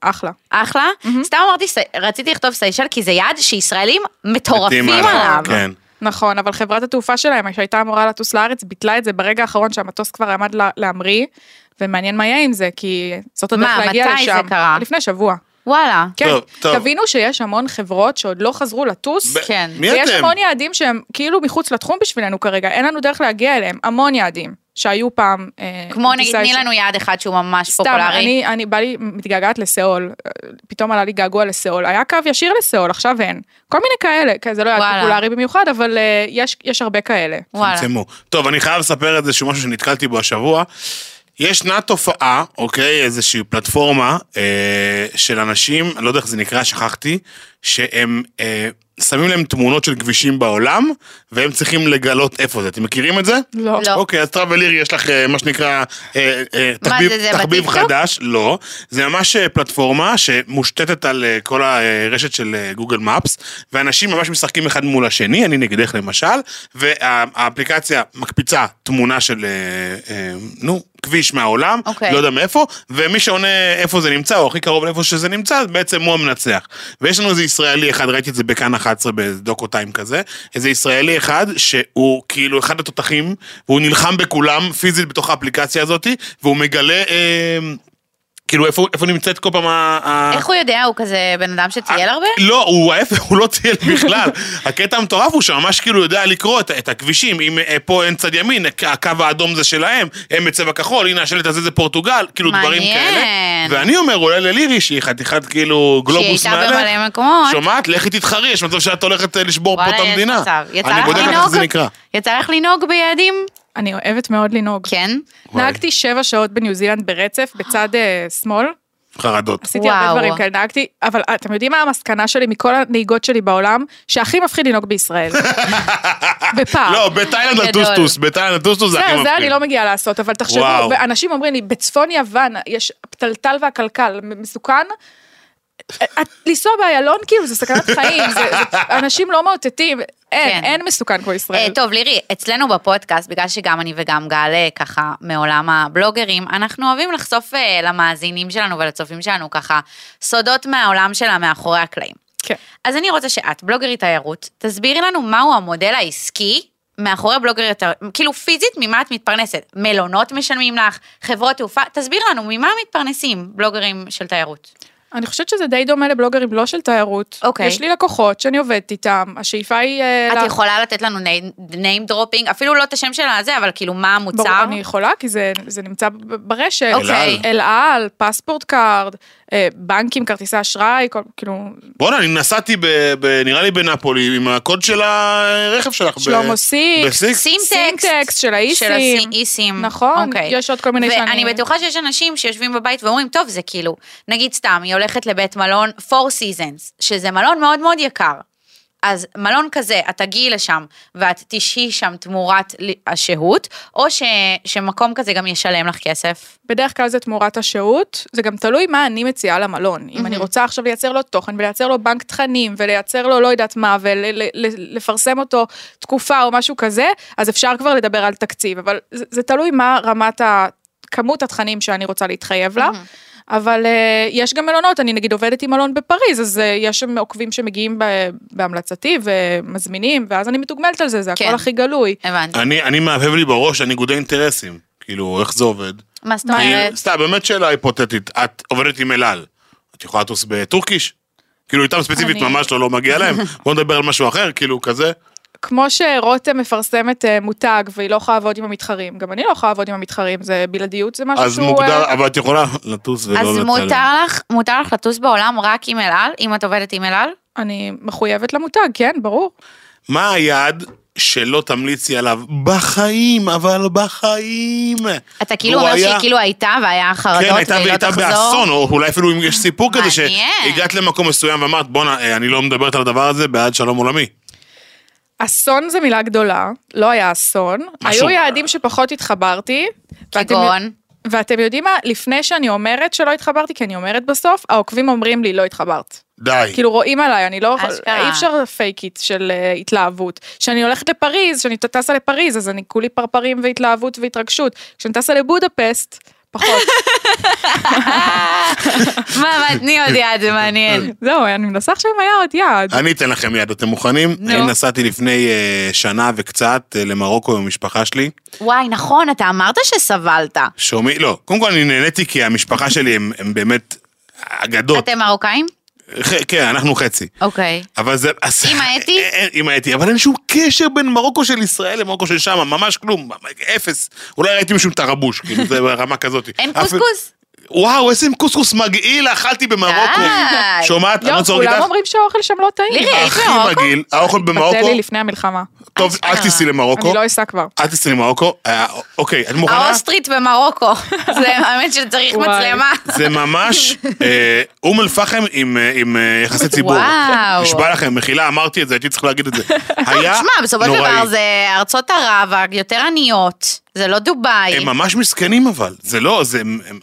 אחלה.
אחלה. סתם אמרתי, סי- רציתי לכתוב סיישל, כי זה יעד שישראלים מטורפים
מתים עליו,
עליו.
כן.
נכון, אבל חברת התעופה שלהם, שהייתה אמורה לטוס לארץ, ביטלה את זה ברגע האחרון שהמטוס כבר עמד לה- להמריא, ומעניין מה יהיה עם זה, כי זאת הדרך
מה,
להגיע לשם.
מתי זה קרה?
לפני שבוע.
וואלה.
כן,
טוב, טוב.
תבינו שיש המון חברות שעוד לא חזרו לטוס.
ב-
כן.
מי
ויש
אתם?
המון יעדים שהם כאילו מחוץ לתחום בשבילנו כרגע, אין לנו דרך להגיע אליהם, המון יעדים שהיו פעם. אה,
כמו נגיד,
טיסה
תני
יש-
לנו יעד אחד שהוא ממש
סתם,
פופולרי.
אני, אני בא לי, מתגעגעת לסאול, אה, פתאום עלה לי געגוע לסאול, היה קו ישיר לסאול, עכשיו אין. כל מיני כאלה, כן, זה לא יעד
וואלה.
פופולרי במיוחד, אבל אה, יש, יש הרבה כאלה.
וואלה.
צמצמו. טוב, אני חייב לספר את זה שהוא משהו שנתקלתי בו השבוע. ישנה תופעה, אוקיי, איזושהי פלטפורמה אה, של אנשים, אני לא יודע איך זה נקרא, שכחתי, שהם אה, שמים להם תמונות של כבישים בעולם, והם צריכים לגלות איפה זה. אתם מכירים את זה?
לא.
לא.
אוקיי, אז טראבליר יש לך אה, מה שנקרא אה, אה,
מה
תחביב,
זה, זה
תחביב
בטיקטוק?
חדש, לא, זה ממש אה, פלטפורמה שמושתתת על אה, כל הרשת של אה, גוגל מפס, ואנשים ממש משחקים אחד מול השני, אני נגדך למשל, והאפליקציה מקפיצה תמונה של, אה, אה, נו, כביש מהעולם,
אוקיי.
לא יודע מאיפה, ומי שעונה איפה זה נמצא, או הכי קרוב לאיפה שזה נמצא, בעצם הוא המנצח. ויש לנו איזה ישראלי אחד, ראיתי את זה בכאן 11 בדוקו טיים כזה, איזה ישראלי אחד שהוא כאילו אחד התותחים, והוא נלחם בכולם פיזית בתוך האפליקציה הזאת, והוא מגלה... אה, כאילו, איפה איפה נמצאת כל פעם ה... ה-
איך הוא יודע? הוא כזה בן אדם שטייל הרבה?
לא, הוא ההפך, הוא לא טייל בכלל. הקטע המטורף הוא שממש כאילו יודע לקרוא את, את הכבישים, אם אה, פה אין צד ימין, הק- הקו האדום זה שלהם, הם בצבע כחול, הנה השלט הזה זה פורטוגל, כאילו דברים
מעניין.
כאלה. ואני אומר, אולי ללירי, שהיא חתיכת כאילו גלובוס
שהיא
מעלה,
הייתה במלא מקומות.
שומעת, לכי תתחרי, יש מצב שאת הולכת אה, לשבור פה את
וואלה, יש
המדינה.
מצב. יצא
אני
לך
בודק לך איך
לנהוג?
זה נקרא.
יצא לך לנהוג ביעדים?
אני אוהבת מאוד לנהוג.
כן.
וואי.
נהגתי שבע שעות בניו זילנד ברצף, בצד אה, שמאל.
חרדות.
עשיתי הרבה
וואו.
דברים כאלה, נהגתי, אבל אה, אתם יודעים מה המסקנה שלי מכל הנהיגות שלי בעולם? שהכי מפחיד לנהוג בישראל. בפער.
לא, בתאילנד
גדול.
הטוסטוס, בתאילנד הטוסטוס זה הכי
זה,
מפחיד.
זה אני לא מגיעה לעשות, אבל תחשבו,
וואו.
אנשים אומרים לי, בצפון יוון יש הפתלתל והקלקל, מסוכן. את- לנסוע באיילון כאילו זה סכנת חיים, זה, זה, אנשים לא מאותתים, אין,
כן.
אין מסוכן כמו
אה,
ישראל.
טוב, לירי, אצלנו בפודקאסט, בגלל שגם אני וגם גל אה, ככה מעולם הבלוגרים, אנחנו אוהבים לחשוף אה, למאזינים שלנו ולצופים שלנו ככה סודות מהעולם שלה מאחורי הקלעים.
כן.
אז אני רוצה שאת, בלוגרית תיירות, תסבירי לנו מהו המודל העסקי מאחורי בלוגרית, תיירות. כאילו פיזית, ממה את מתפרנסת? מלונות משלמים לך, חברות תעופה, תסביר לנו ממה מתפרנסים בלוגרים של תיירות.
אני חושבת שזה די דומה לבלוגרים לא של תיירות.
אוקיי.
יש לי לקוחות שאני עובדת איתם, השאיפה היא... אה,
את
לה-
יכולה לתת לנו name dropping, אפילו לא את השם של הזה, אבל כאילו מה המוצר?
ברור, אני יכולה, כי זה, זה נמצא ב- ברשת.
אוקיי.
אל על, פספורט קארד, אה, בנקים, כרטיסי אשראי, כל, כאילו,
בואנה, אני נסעתי, ב, ב, נראה לי בנפולי, עם הקוד של הרכב שלך. ב-
שלמה סיקס.
בסיקס.
סינטקס.
סינטקס של האיסים.
של האיסים.
נכון,
אוקיי.
יש עוד כל מיני
ואני
שאני-
בטוחה שיש אנשים שיושבים בבית ואומרים, טוב, זה כאילו, נגיד סתם, היא הולכת לבית מלון Four Seasons, שזה מלון מאוד מאוד יקר. אז מלון כזה, את תגיעי לשם ואת תשהי שם תמורת ל- השהות, או ש, שמקום כזה גם ישלם לך כסף.
בדרך כלל זה תמורת השהות, זה גם תלוי מה אני מציעה למלון. אם אני רוצה עכשיו לייצר לו תוכן ולייצר לו בנק תכנים ולייצר לו לא יודעת מה ולפרסם אותו תקופה או משהו כזה, אז אפשר כבר לדבר על תקציב, אבל זה, זה תלוי מה רמת ה... כמות התכנים שאני רוצה להתחייב לה. אבל uh, יש גם מלונות, אני נגיד עובדת עם מלון בפריז, אז uh, יש שם עוקבים שמגיעים ב- בהמלצתי ומזמינים, ואז אני מתוגמלת על זה, זה
כן.
הכל הכי גלוי.
הבנתי.
אני, אני מהבהב לי בראש, אני ניגודי אינטרסים. כאילו, איך זה עובד?
מה זאת
כאילו,
אומרת?
סתם, באמת שאלה היפותטית. את עובדת עם אל על, את יכולה לטוס בטורקיש? כאילו, איתם ספציפית
אני-
ממש לא, לא מגיע להם. בואו נדבר על משהו אחר, כאילו, כזה.
כמו שרותם מפרסמת אה, מותג והיא לא יכולה לעבוד עם המתחרים, גם אני לא יכולה לעבוד עם המתחרים, זה בלעדיות זה משהו
אז
שהוא...
מוגדר,
אה,
אבל את יכולה לטוס ולא
אז
לצלם.
מותר לך, מותר לך לטוס בעולם רק עם אל על, אם את עובדת עם אל על?
אני מחויבת למותג, כן, ברור.
מה היעד שלא תמליצי עליו? בחיים, אבל בחיים.
אתה כאילו
והוא
אומר
לא, היה-
שהיא כאילו הייתה והיה חרדות
כן, הייתה
והיא לא
והייתה
תחזור?
באסון, או אולי אפילו אם יש סיפור כזה
מעניין.
שהגעת למקום מסוים ואמרת, בואנה, אה, אני לא מדברת על הדבר הזה בעד שלום עולמי.
אסון זה מילה גדולה, לא היה אסון.
משהו-
היו יעדים שפחות התחברתי. ואתם-
כגון?
ואתם יודעים מה, לפני שאני אומרת שלא התחברתי, כי אני אומרת בסוף, העוקבים אומרים לי לא התחברת.
די.
כאילו רואים עליי, אני לא,
אשכרה.
אי אפשר פייקית של אה, התלהבות. כשאני הולכת לפריז, כשאני טסה לפריז, אז אני כולי פרפרים והתלהבות והתרגשות. כשאני טסה לבודפסט, פחות.
מה, מה, תני עוד יד, זה מעניין.
זהו, אני מנסה עכשיו אם היה עוד יעד.
אני אתן לכם יד, אתם מוכנים?
נו.
אני נסעתי לפני אה, שנה וקצת אה, למרוקו עם המשפחה שלי.
וואי, נכון, אתה אמרת שסבלת.
שומעים? לא, קודם כל אני נהניתי כי המשפחה שלי הם הם באמת אגדות.
אתם מרוקאים?
ח- כן, אנחנו חצי.
אוקיי.
אבל זה... אז-
אמא אתי?
אה, אה, אמא אתי, אבל אין שום קשר בין מרוקו של ישראל למרוקו של שם, ממש כלום, אפס. אולי ראיתי מישהו עם תרבוש, כאילו, זה ברמה כזאת.
אין
אפילו-
קוסקוס?
וואו, איזה קוסקוס מגעיל, אכלתי במרוקו.
די.
שומעת? אני לא
לא,
צוחק
כולם
איתך.
אומרים שהאוכל שם לא טעים.
לירי, היית
הכי
במרוקו?
מגעיל, האוכל
תן
במרוקו,
לי לפני המלחמה.
טוב, אל תיסעי למרוקו,
אני לא אסע כבר.
אל תיסעי למרוקו, אה, אוקיי, את מוכנה?
האוסטרית במרוקו. זה, האמת שצריך
וואי.
מצלמה.
זה ממש אה, אום אל פחם עם, אה, עם אה, יחסי ציבור.
וואו.
נשבע לכם, מחילה, אמרתי את זה, הייתי צריך להגיד את זה. היה
תשמע, בסופו של
אה? נוראי.
דבר זה ארצות ערב היותר עניות, זה לא דובאי.
הם ממש מסכנים אבל, זה לא, זה... הם, הם,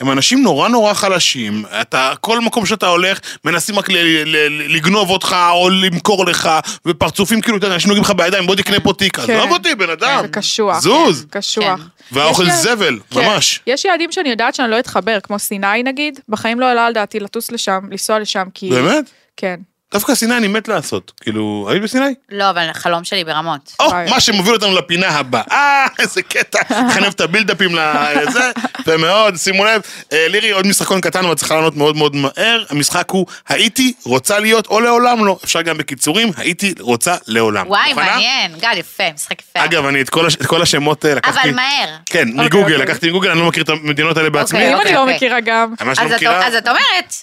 הם אנשים נורא נורא חלשים, אתה, כל מקום שאתה הולך, מנסים רק ל, ל, ל, לגנוב אותך או למכור לך, ופרצופים כאילו, אתה יודע, אנשים נוגעים לך בידיים, בוא תקנה פה תיק,
כן.
עזוב אותי, בן אדם.
זה קשוח.
אה,
כן,
זוז.
קשוח.
והאוכל
יש יע-
זבל,
כן.
ממש.
יש יעדים שאני יודעת שאני לא אתחבר, כמו סיני נגיד, בחיים לא עלה על דעתי לטוס לשם, לנסוע לשם, כי...
באמת?
כן.
דווקא סיני אני מת לעשות. כאילו, היית בסיני?
לא, אבל החלום שלי ברמות.
או,
וואי.
מה שמוביל אותנו לפינה הבאה, אה, איזה קטע, חנב את הבילדאפים לזה, יפה מאוד, שימו לב. אה, לירי, עוד משחקון קטן, אבל צריכה לענות מאוד מאוד מהר. המשחק הוא הייתי, רוצה להיות, או לעולם לא. אפשר גם בקיצורים, הייתי, רוצה, לעולם.
וואי,
מוכנה?
מעניין. גל, יפה, משחק יפה.
אגב, אני את כל הש- את כל השמות אה, לקחתי.
אבל מהר.
כן,
אוקיי,
מגוגל,
אוקיי.
לקחתי מגוגל, אני לא מכיר את המדינות האלה בעצמי.
אוקיי,
אם אני לא
אוקיי.
מכירה גם.
ממש
אז
לא
את-
מכירה.
אז את אומרת,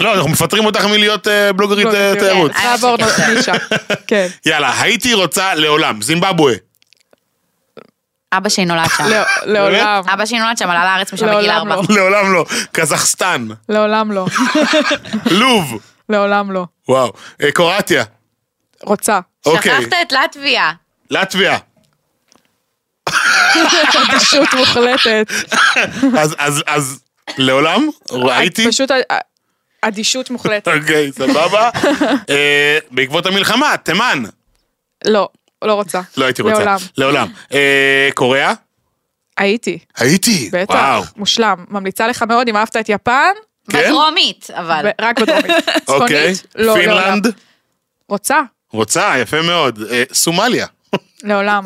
לא, אנחנו מפטרים אותך מלהיות אה, בלוגרית אה,
בלוגרית.
תיירות.
אה,
לעבור
אני חושבת.
כן. נישה. כן.
יאללה, הייתי רוצה לעולם, זימבבואה.
אבא שלי נולד
אה,
שם.
לא- לעולם.
אבא שלי נולד שם, עלה לארץ משם בגיל
לעולם
ארבע.
לא.
לעולם לא. קזחסטן,
לעולם לא.
לוב,
לעולם לא.
וואו, אה, קרואטיה,
רוצה.
אוקיי,
שכחת את לטביה.
לטביה.
פשוט מוחלטת.
אז- אז- אז לעולם, ראיתי,
פשוט א- א- אדישות מוחלטת.
אוקיי, סבבה. אה, בעקבות המלחמה, תימן,
לא, לא רוצה.
לא הייתי רוצה.
לעולם.
לעולם. אה, קוריאה,
הייתי,
הייתי, וואו.
בטח. מושלם. ממליצה לך מאוד, אם אהבת את יפן,
כן?
בדרומית, אבל.
ו- רק בדרומית.
אוקיי,
צפונית, לא, לעולם.
פינלנד,
רוצה,
רוצה, יפה מאוד, אה, סומליה,
לעולם.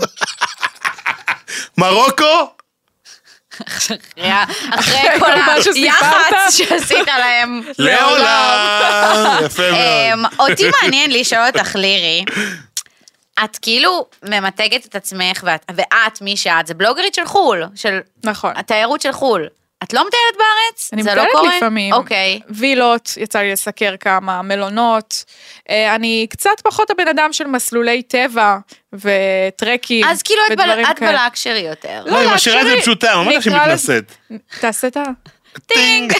מרוקו,
אחרי- אחרי כל
מה שסיפרת. לא,
היח"צ שעשית להם.
לעולם,
אה,
יפה מאוד.
אמ, אותי מעניין לשאול אותך, לירי, את כאילו ממתגת את עצמך, ואת, ואת, מי שאת, זה בלוגרית של חו"ל, של
נכון.
התיירות של חו"ל. את לא מטיילת בארץ?
אני
זה לא
מטיילת
קורה?
לפעמים.
אוקיי.
וילות, יצא לי לסקר כמה, מלונות. אה, אני קצת פחות הבן אדם של מסלולי טבע וטרקים
אז כאילו את
ודברים
בל- את
כאלה.
בלאקשרי יותר.
לא, היא משאירה את זה
להקשיבי,
פשוטה, ממש היא
נקרא לזה-
מתנשאת.
תעשה את ה...
טינג.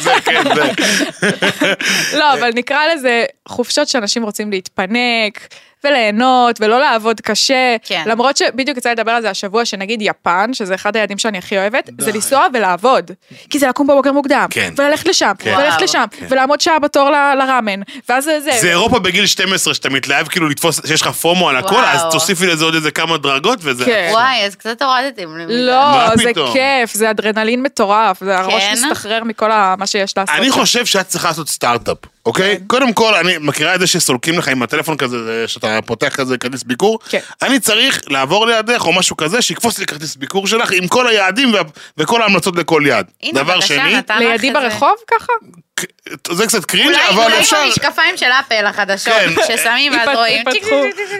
זה כן, זה.
לא, אבל נקרא לזה חופשות שאנשים רוצים להתפנק וליהנות ולא לעבוד קשה.
כן.
למרות שבדיוק יצא לי לדבר על זה השבוע, שנגיד יפן, שזה אחד היעדים שאני הכי אוהבת, זה לנסוע ולעבוד. כי זה לקום בבוקר מוקדם,
כן.
וללכת לשם,
כן.
וללכת
וואו.
לשם, ולעמוד שעה בתור ל- לראמן, ואז זה...
זה אירופה בגיל 12, שאתה מתלהב כאילו לתפוס, שיש לך פומו על הכל,
וואו.
אז תוסיפי לזה עוד איזה כמה דרגות וזה.
כן.
וואי, אז קצת הורדתם. לי מזה.
לא,
מה
זה
פתאום?
כיף, זה אדרנלין מטורף, זה הראש
כן?
מסתחרר מכל ה- מה שיש לעשות.
אני חושב שאת צריכה לעשות סטארט-אפ, אוקיי?
כן.
קודם כל, אני מכירה את זה שסולקים לך עם הטלפון כזה, זה שאתה פותח כזה כרטיס ביקור.
כן.
אני צריך לעבור לידך או משהו כזה, שיקפוץ לי כרטיס ביקור שלך עם כל היעדים וה- וכל ההמלצות לכל יעד.
הנה,
דבר
בבקשה,
שני,
נתן לך
לידי
את זה.
ברחוב ככה?
ק- זה קצת קרינג',
אולי
אבל
אולי
אפשר...
במשקפיים של אפל החדשות,
כן.
ששמים ואז
ייפת-
רואים.
ייפתחו.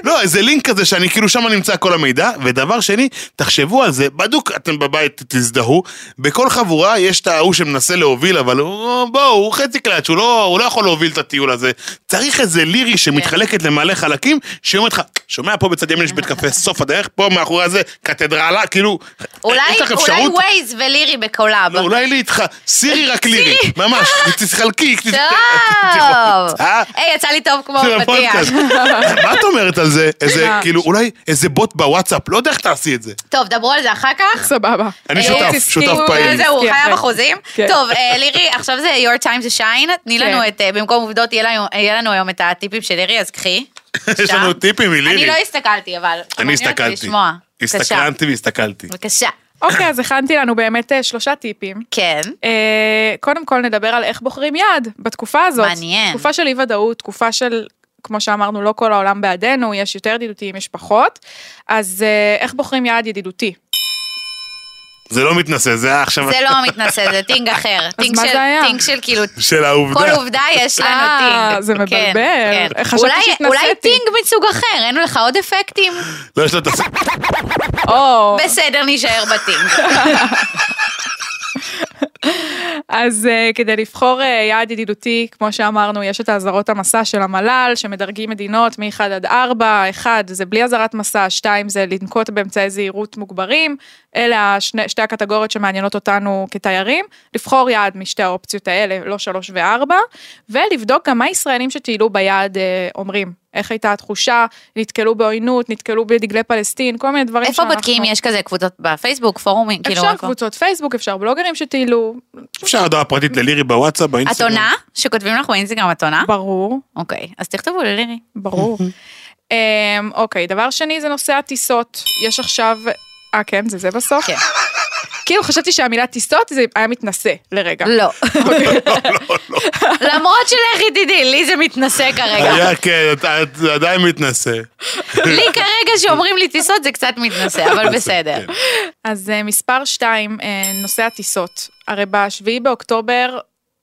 לא, איזה לינק כזה שאני כאילו שם נמצא כל המידע, ודבר שני, תחשבו על זה, בדוק אתם בבית תזדהו, בכל חבורה יש את ההוא שמנסה להוביל, אבל הוא- בואו, הוא חצי קלט, שהוא לא, הוא לא יכול להוביל את הטיול הזה. צריך איזה לירי שמתחלקת למלא חלקים, שאומרת לך, שומע פה בצד ימין יש בית קפה סוף הדרך, פה מאחורי זה קתדרלה, כאילו,
אולי
יש לך
אולי
אפשרות?
ווייז ולירי בקולאב.
לא, אולי לי איתך, סירי רק לירי, ממש, תתחלקי, תת-
טוב.
לא, אה?
היי, יצא לי טוב כמו
של
פתיח.
הפודקאסט. מה את אומרת על זה? איזה,
מה?
כאילו, אולי איזה בוט בוואטסאפ, לא יודע איך תעשי את זה.
טוב, דברו על זה אחר כך.
סבבה.
אני
אה,
שותף,
עסקי
שותף
הוא-
פעיל.
זה-
זהו, הוא
כן,
חייב
כן.
אחוזים.
כן.
טוב, אה, לירי, עכשיו זה your time to shine. תני
כן.
לנו את, אה, במקום עובדות, יהיה לנו- יהיה לנו היום את הטיפים של לירי, אז קחי.
יש לנו טיפים
אני
מלירי.
לא הסתכלתי, אבל...
אני
מעניין אותי
הסתכלתי.
לשמוע. בבקשה.
הסתכלתי והסתכלתי.
בבקשה.
אוקיי, אז הכנתי לנו באמת אה, שלושה טיפים.
כן.
אה, קודם כל נדבר על איך בוחרים יעד בתקופה הזאת.
מעניין.
תקופה של אי ודאות, תקופה של, כמו שאמרנו, לא כל העולם בעדנו, יש יותר ידידותיים, יש פחות. אז אה, איך בוחרים יעד ידידותי?
זה לא מתנשא, זה היה עכשיו
זה לא מתנשא, זה טינג אחר. טינג
מה
של-
זה היה?
טינג של כאילו
של העובדה.
כל עובדה יש לנו
אה,
טינג.
זה מבלבל.
כן, כן.
חשבתי
אולי-
שהתנסיתי.
אולי טינג מסוג אחר, אין לך עוד אפקטים?
לא, יש לו את הס...
או,
בסדר, נישאר בטינג.
אז אה, כדי לבחור אה, יעד ידידותי, כמו שאמרנו, יש את האזהרות המסע של המל"ל, שמדרגים מדינות מ-1 עד 4, 1 זה בלי אזהרת מסע, 2 זה לנקוט באמצעי זהירות מוגברים, אלה השני, שתי הקטגוריות שמעניינות אותנו כתיירים, לבחור יעד משתי האופציות האלה, לא 3 ו-4, ולבדוק גם מה ישראלים שטיילו ביעד אה, אומרים. איך הייתה התחושה, נתקלו בעוינות, נתקלו בדגלי פלסטין, כל מיני דברים
איפה בודקים? יש כזה קבוצות בפייסבוק, פורומים, כאילו...
אפשר
הכל.
קבוצות פייסבוק, אפשר בלוגרים שטיילו,
אפשר הודעה פרטית ללירי בוואטסאפ,
את
באינסטגרם.
עונה? שכותבים לך באינסטגרם את עונה?
ברור.
אוקיי, אז תכתבו ללירי.
ברור. אמ, אוקיי, דבר שני זה נושא הטיסות. יש עכשיו... אה, כן, זה זה בסוף?
כן.
כאילו חשבתי שהמילה טיסות זה היה מתנשא לרגע.
לא.
לא, לא.
למרות שלך תדעי, לי זה מתנשא כרגע.
היה כן, אתה- אתה עדיין מתנשא.
לי כרגע שאומרים לי טיסות זה קצת מתנשא, אבל בסדר.
כן.
אז אה, מספר 2, נושא הטיסות. הרי ב-7 באוקטובר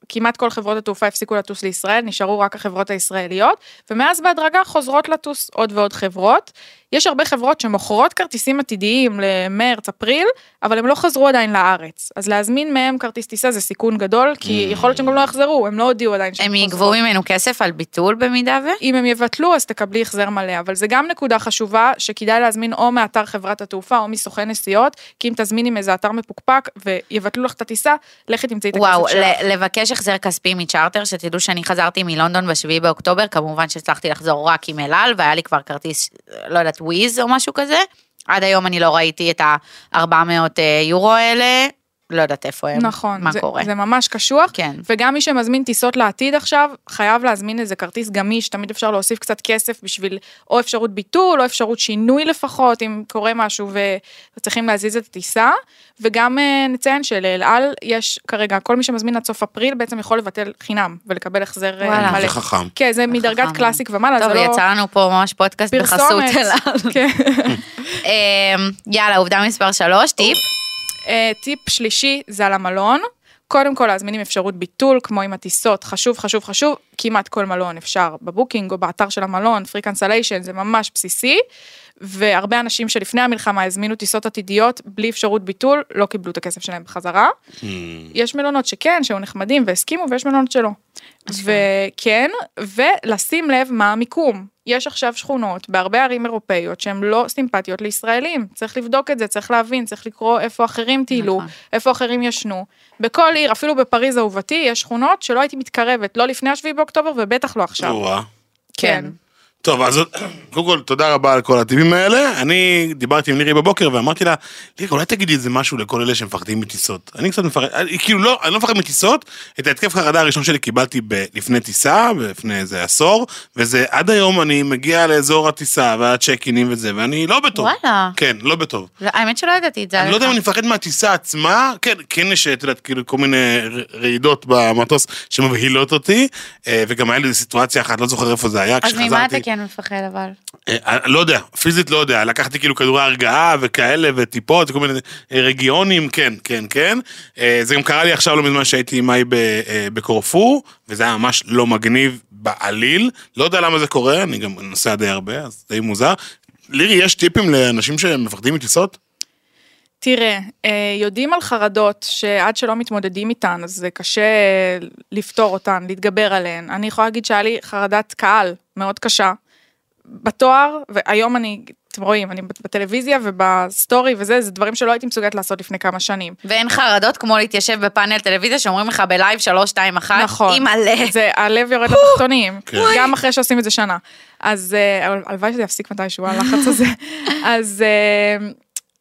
כמעט כל חברות התעופה הפסיקו לטוס לישראל, נשארו רק החברות הישראליות, ומאז בהדרגה חוזרות לטוס עוד ועוד חברות. יש הרבה חברות שמוכרות כרטיסים עתידיים למרץ, אפריל, אבל הם לא חזרו עדיין לארץ. אז להזמין מהם כרטיס טיסה זה סיכון גדול, כי יכול להיות שהם גם לא יחזרו, הם לא הודיעו עדיין
Mm.
שהם
הם
חוזרים.
יגבו ממנו כסף על ביטול במידה ו...
אם הם יבטלו אז תקבלי החזר מלא, אבל זה גם נקודה חשובה שכדאי להזמין או מאתר חברת התעופה או מסוכן נסיעות, כי אם תזמיני מאיזה אתר מפוקפק ויבטלו לך את הטיסה, לכי תמצאי את הכסף
וואו,
שלך.
ל- לבקש החזר כספי מצ'רטר, שתדעו שאני חזרתי מלונדון ב-7 באוקטובר, כמובן שהצלחתי לחזור רק עם אל על, והיה לי כבר כרטיס, לא יודעת, וויז או משהו כזה. עד היום אני לא ראיתי את ה-400 יורו האלה, לא יודעת איפה הם,
נכון,
מה
זה,
קורה.
זה ממש קשוח.
כן.
וגם מי שמזמין טיסות לעתיד עכשיו, חייב להזמין איזה כרטיס גמיש, תמיד אפשר להוסיף קצת כסף בשביל או אפשרות ביטול, או אפשרות שינוי לפחות, אם קורה משהו וצריכים להזיז את הטיסה. וגם אה, נציין שלאל על יש כרגע, כל מי שמזמין עד סוף אפריל בעצם יכול לבטל חינם ולקבל החזר אה,
וואלה.
מלא.
זה חכם.
כן, זה מדרגת
חכם.
קלאסיק ומעלה,
טוב,
זה לא...
יצא לנו פה ממש פודקאסט בחסות
פרסומת.
אל על.
כן.
אמ, יאללה, עובדה מספר 3, טיפ.
אה, טיפ שלישי זה על המלון. קודם כל להזמין עם אפשרות ביטול, כמו עם הטיסות, חשוב, חשוב, חשוב, כמעט כל מלון אפשר בבוקינג או באתר של המלון, free cancellation, זה ממש בסיסי, והרבה אנשים שלפני המלחמה הזמינו טיסות עתידיות בלי אפשרות ביטול, לא קיבלו את הכסף שלהם בחזרה. יש מלונות שכן, שהיו נחמדים והסכימו, ויש מלונות שלא. וכן, ולשים לב מה המיקום. יש עכשיו שכונות בהרבה ערים אירופאיות שהן לא סימפטיות לישראלים. צריך לבדוק את זה, צריך להבין, צריך לקרוא איפה אחרים טיילו,
נכון.
איפה אחרים ישנו. בכל עיר, אפילו בפריז אהובתי, יש שכונות שלא הייתי מתקרבת, לא לפני השביעי באוקטובר ובטח לא עכשיו.
אוה.
כן.
טוב, אז קודם כל, תודה רבה על כל הטיפים האלה. אני דיברתי עם לירי בבוקר ואמרתי לה, לירי, אולי תגידי איזה משהו לכל אלה שמפחדים מטיסות. אני קצת מפחד, אני- כאילו לא, אני לא מפחד מטיסות, את ההתקף חרדה הראשון שלי קיבלתי ב- לפני טיסה, לפני איזה עשור, וזה עד היום אני מגיע לאזור הטיסה והצ'ק אינים וזה, ואני לא בטוב.
וואלה.
כן, לא בטוב.
לא, האמת שלא ידעתי את זה.
אני לא יודע אם
עליך.
אני מפחד מהטיסה עצמה, כן, כן יש, את יודעת, כאילו כל מיני ר- רעידות במטוס שמבהילות אותי, אה, וגם היה לי איזו סיטואציה אחת, לא זוכר איפה זה היה,
אז
כשחזרתי.
ממה אתה כן מפחד אבל?
אה, אני לא יודע, פיזית לא יודע, לקחתי כאילו כדורי הרגעה וכאלה וטיפות, כל מיני אה, רגיונים, כן, כן, כן. אה, זה גם קרה לי עכשיו לא מזמן שהייתי עם מאי ב- אה, בקורפור, וזה היה ממש לא מגניב בעליל. לא יודע למה זה קורה, אני גם נוסע די הרבה, אז די מוזר. לירי, יש טיפים לאנשים שמפחדים מטיסות?
תראה, אה, יודעים על חרדות שעד שלא מתמודדים איתן, אז זה קשה אה, לפתור אותן, להתגבר עליהן. אני יכולה להגיד שהיה לי חרדת קהל מאוד קשה בתואר, והיום אני, אתם רואים, אני בטלוויזיה ובסטורי וזה, זה דברים שלא הייתי מסוגלת לעשות לפני כמה שנים.
ואין חרדות כמו להתיישב בפאנל טלוויזיה שאומרים לך בלייב 3, 2, 1,
נכון.
עם מלא.
זה, הלב יורד לתחתונים,
כן.
גם אחרי שעושים את זה שנה. אז אה, אבל הלוואי שזה יפסיק מתישהו, הלחץ הזה. אז... אה,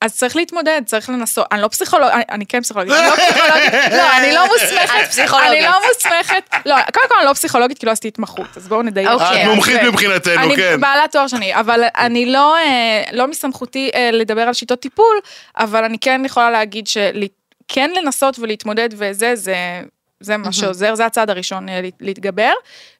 אז צריך להתמודד, צריך לנסות, אני לא פסיכולוגית, אני, אני כן פסיכולוגית, אני לא פסיכולוגית, לא, אני לא
את
מוסמכת,
פסיכולוגית.
אני לא מוסמכת, לא, קודם כל אני לא פסיכולוגית כי לא עשיתי התמחות, אז בואו נדייק.
אוקיי.
את
כן,
מומחית
זה-
מבחינתנו,
אה, אני
כן.
בעלת תואר שני, אבל אני לא, אה, לא מסמכותי אה, לדבר על שיטות טיפול, אבל אני כן יכולה להגיד שכן לנסות ולהתמודד וזה, זה, זה מה שעוזר, זה הצעד הראשון אה, להת- להתגבר,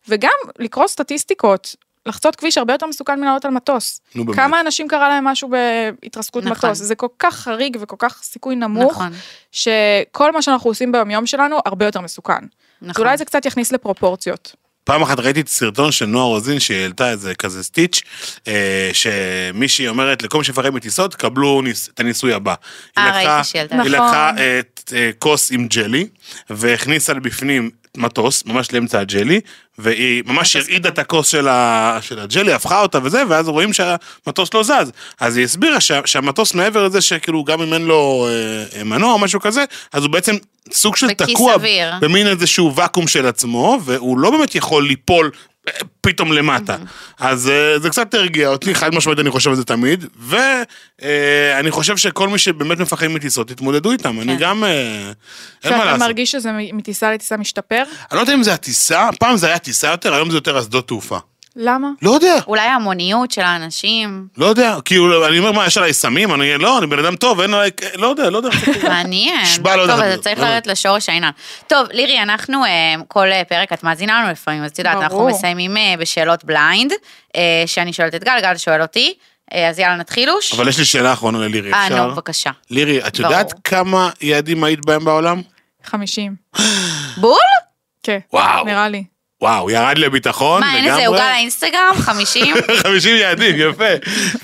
וגם לקרוא סטטיסטיקות. לחצות כביש הרבה יותר מסוכן מלעלות על מטוס.
נו, באמת.
כמה אנשים קרה להם משהו בהתרסקות
נכון.
מטוס, זה כל כך חריג וכל כך סיכוי נמוך,
נכון,
שכל מה שאנחנו עושים ביומיום שלנו הרבה יותר מסוכן. אז
נכון.
אולי זה קצת יכניס לפרופורציות.
פעם אחת ראיתי את הסרטון של נועה רוזין שהעלתה איזה כזה סטיץ', אה, שמישהי אומרת לכל מי שיפרט מטיסות, קבלו ניס, את הניסוי הבא. היא
אה,
לקחה-
ראיתי שהיא העלתה.
היא
נכון.
לקחה אה, ת- אה, כוס עם ג'לי, והכניסה לבפנים מטוס, ממש לאמצע הג'לי, והיא ממש הרעידה את הכוס של, ה, של הג'לי, הפכה אותה וזה, ואז רואים שהמטוס לא זז. אז היא הסבירה שה, שהמטוס מעבר לזה שכאילו גם אם אין לו אה, מנוע או משהו כזה, אז הוא בעצם סוג של
בכיס
תקוע
אוויר.
במין איזשהו ואקום של עצמו, והוא לא באמת יכול ליפול אה, פתאום למטה.
Mm-hmm.
אז אה, זה קצת הרגיע אותי, חד משמעית אני חושב על זה תמיד, ואני חושב שכל מי שבאמת מפחד מטיסות, תתמודדו איתם,
כן.
אני גם... אה, אין מה
שאתה
לעשות.
מרגיש שזה מטיסה לטיסה משתפר?
אני לא יודע אם זה הטיסה, פעם זה היה טיסה יותר, היום זה יותר אסדות תעופה.
למה?
לא יודע,
אולי המוניות של האנשים,
לא יודע, כאילו, אני אומר, מה, יש עליי סמים? אני, לא, אני בן אדם טוב, אין עליי, לא יודע, לא יודע.
מעניין.
נשבע, לא
טוב,
יודע.
אז צריך לרדת לשורש העניין. טוב, לירי, אנחנו, אה, כל אה, פרק את מאזינה לנו לפעמים, אז את יודעת, אנחנו
ברור.
מסיימים אה, בשאלות בליינד, אה, שאני שואלת את גל, גל שואל אותי, אה, אז יאללה, נתחילוש.
אבל יש לי שאלה אחרונה ללירי,
אה,
אפשר?
נו, בבקשה.
לירי, את יודעת
ברור.
כמה יעדים היית בהם בעולם?
50.
בול?
כן.
וואו.
נראה לי.
וואו, ירד לביטחון
מה,
נכון, לגמרי.
אין איזה עוגה לאינסטגרם? 50?
50 יעדים, יפה.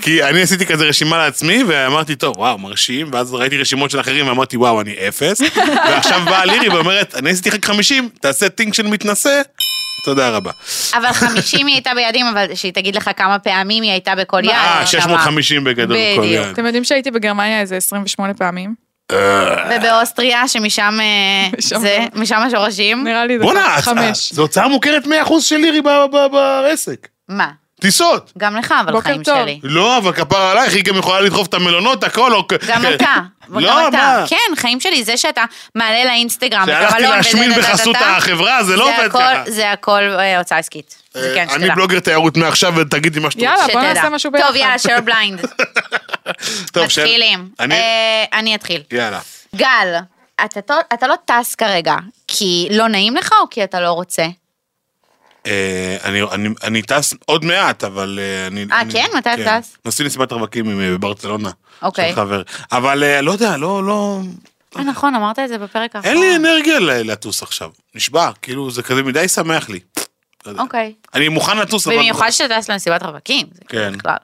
כי אני עשיתי כזה רשימה לעצמי, ואמרתי, טוב, וואו, מרשים, ואז ראיתי רשימות של אחרים, ואמרתי, וואו, אני אפס. ועכשיו באה לירי ואומרת, אני עשיתי רק 50, תעשה טינק של מתנשא. תודה רבה.
אבל 50 היא הייתה ביעדים, אבל שהיא תגיד לך כמה פעמים היא הייתה בכל יעד.
אה,
כמה.
650 בגדול כל
בדיוק.
יעד.
אתם יודעים שהייתי בגרמניה איזה 28 פעמים?
אה,
ובאוסטריה, שמשם אה,
משם
זה,
גם.
משם השורשים.
נראה לי זה
בואנה, הצ-
חמש.
זו הוצאה מוכרת 100% של לירי ב- ב- בעסק.
מה?
טיסות.
גם לך, אבל
בוקר
חיים
טוב.
שלי.
לא, אבל כפר עלייך, היא גם יכולה לדחוף את המלונות, הכל. או-
גם אתה.
לא,
גם אתה.
מה?
כן, חיים שלי, זה שאתה מעלה לאינסטגרם, את
שהלכתי
הבלון
להשמין
וזה, זה, זה,
בחסות
זה, זה,
החברה, זה לא
זה
עובד
הכל-
ככה.
זה הכל אה, הוצאה עסקית. זה
אה,
כן,
אני אה,
שתדע.
בלוגר תיירות מעכשיו ותגידי מה שאת רוצה.
יאללה, בוא
שתדע.
נעשה משהו
טוב,
ביחד.
יאללה, שואל בליינד.
טוב, שאל-
מתחילים.
אני-
אה, אני אתחיל.
יאללה.
גל, אתה טו- אתה לא טס כרגע, כי לא נעים לך או כי אתה לא רוצה?
אה, אני- אני- אני טס עוד מעט, אבל אה, אני...
אה,
אני-
כן? מתי את טס?
נוסעים לסיבת רווקים עם, אה, בברצלונה.
אוקיי.
של חבר. אבל אה, לא יודע, לא, לא...
אה, נכון, אמרת את זה בפרק האחרון.
אין לי אנרגיה ל- לטוס עכשיו. נשבע, כאילו, זה כזה מדי שמח לי. לא יודע.
אוקיי.
אני מוכן לטוס, אבל...
במיוחד שאתה טס למסיבת רווקים. זה כאילו
כן.
בכלל.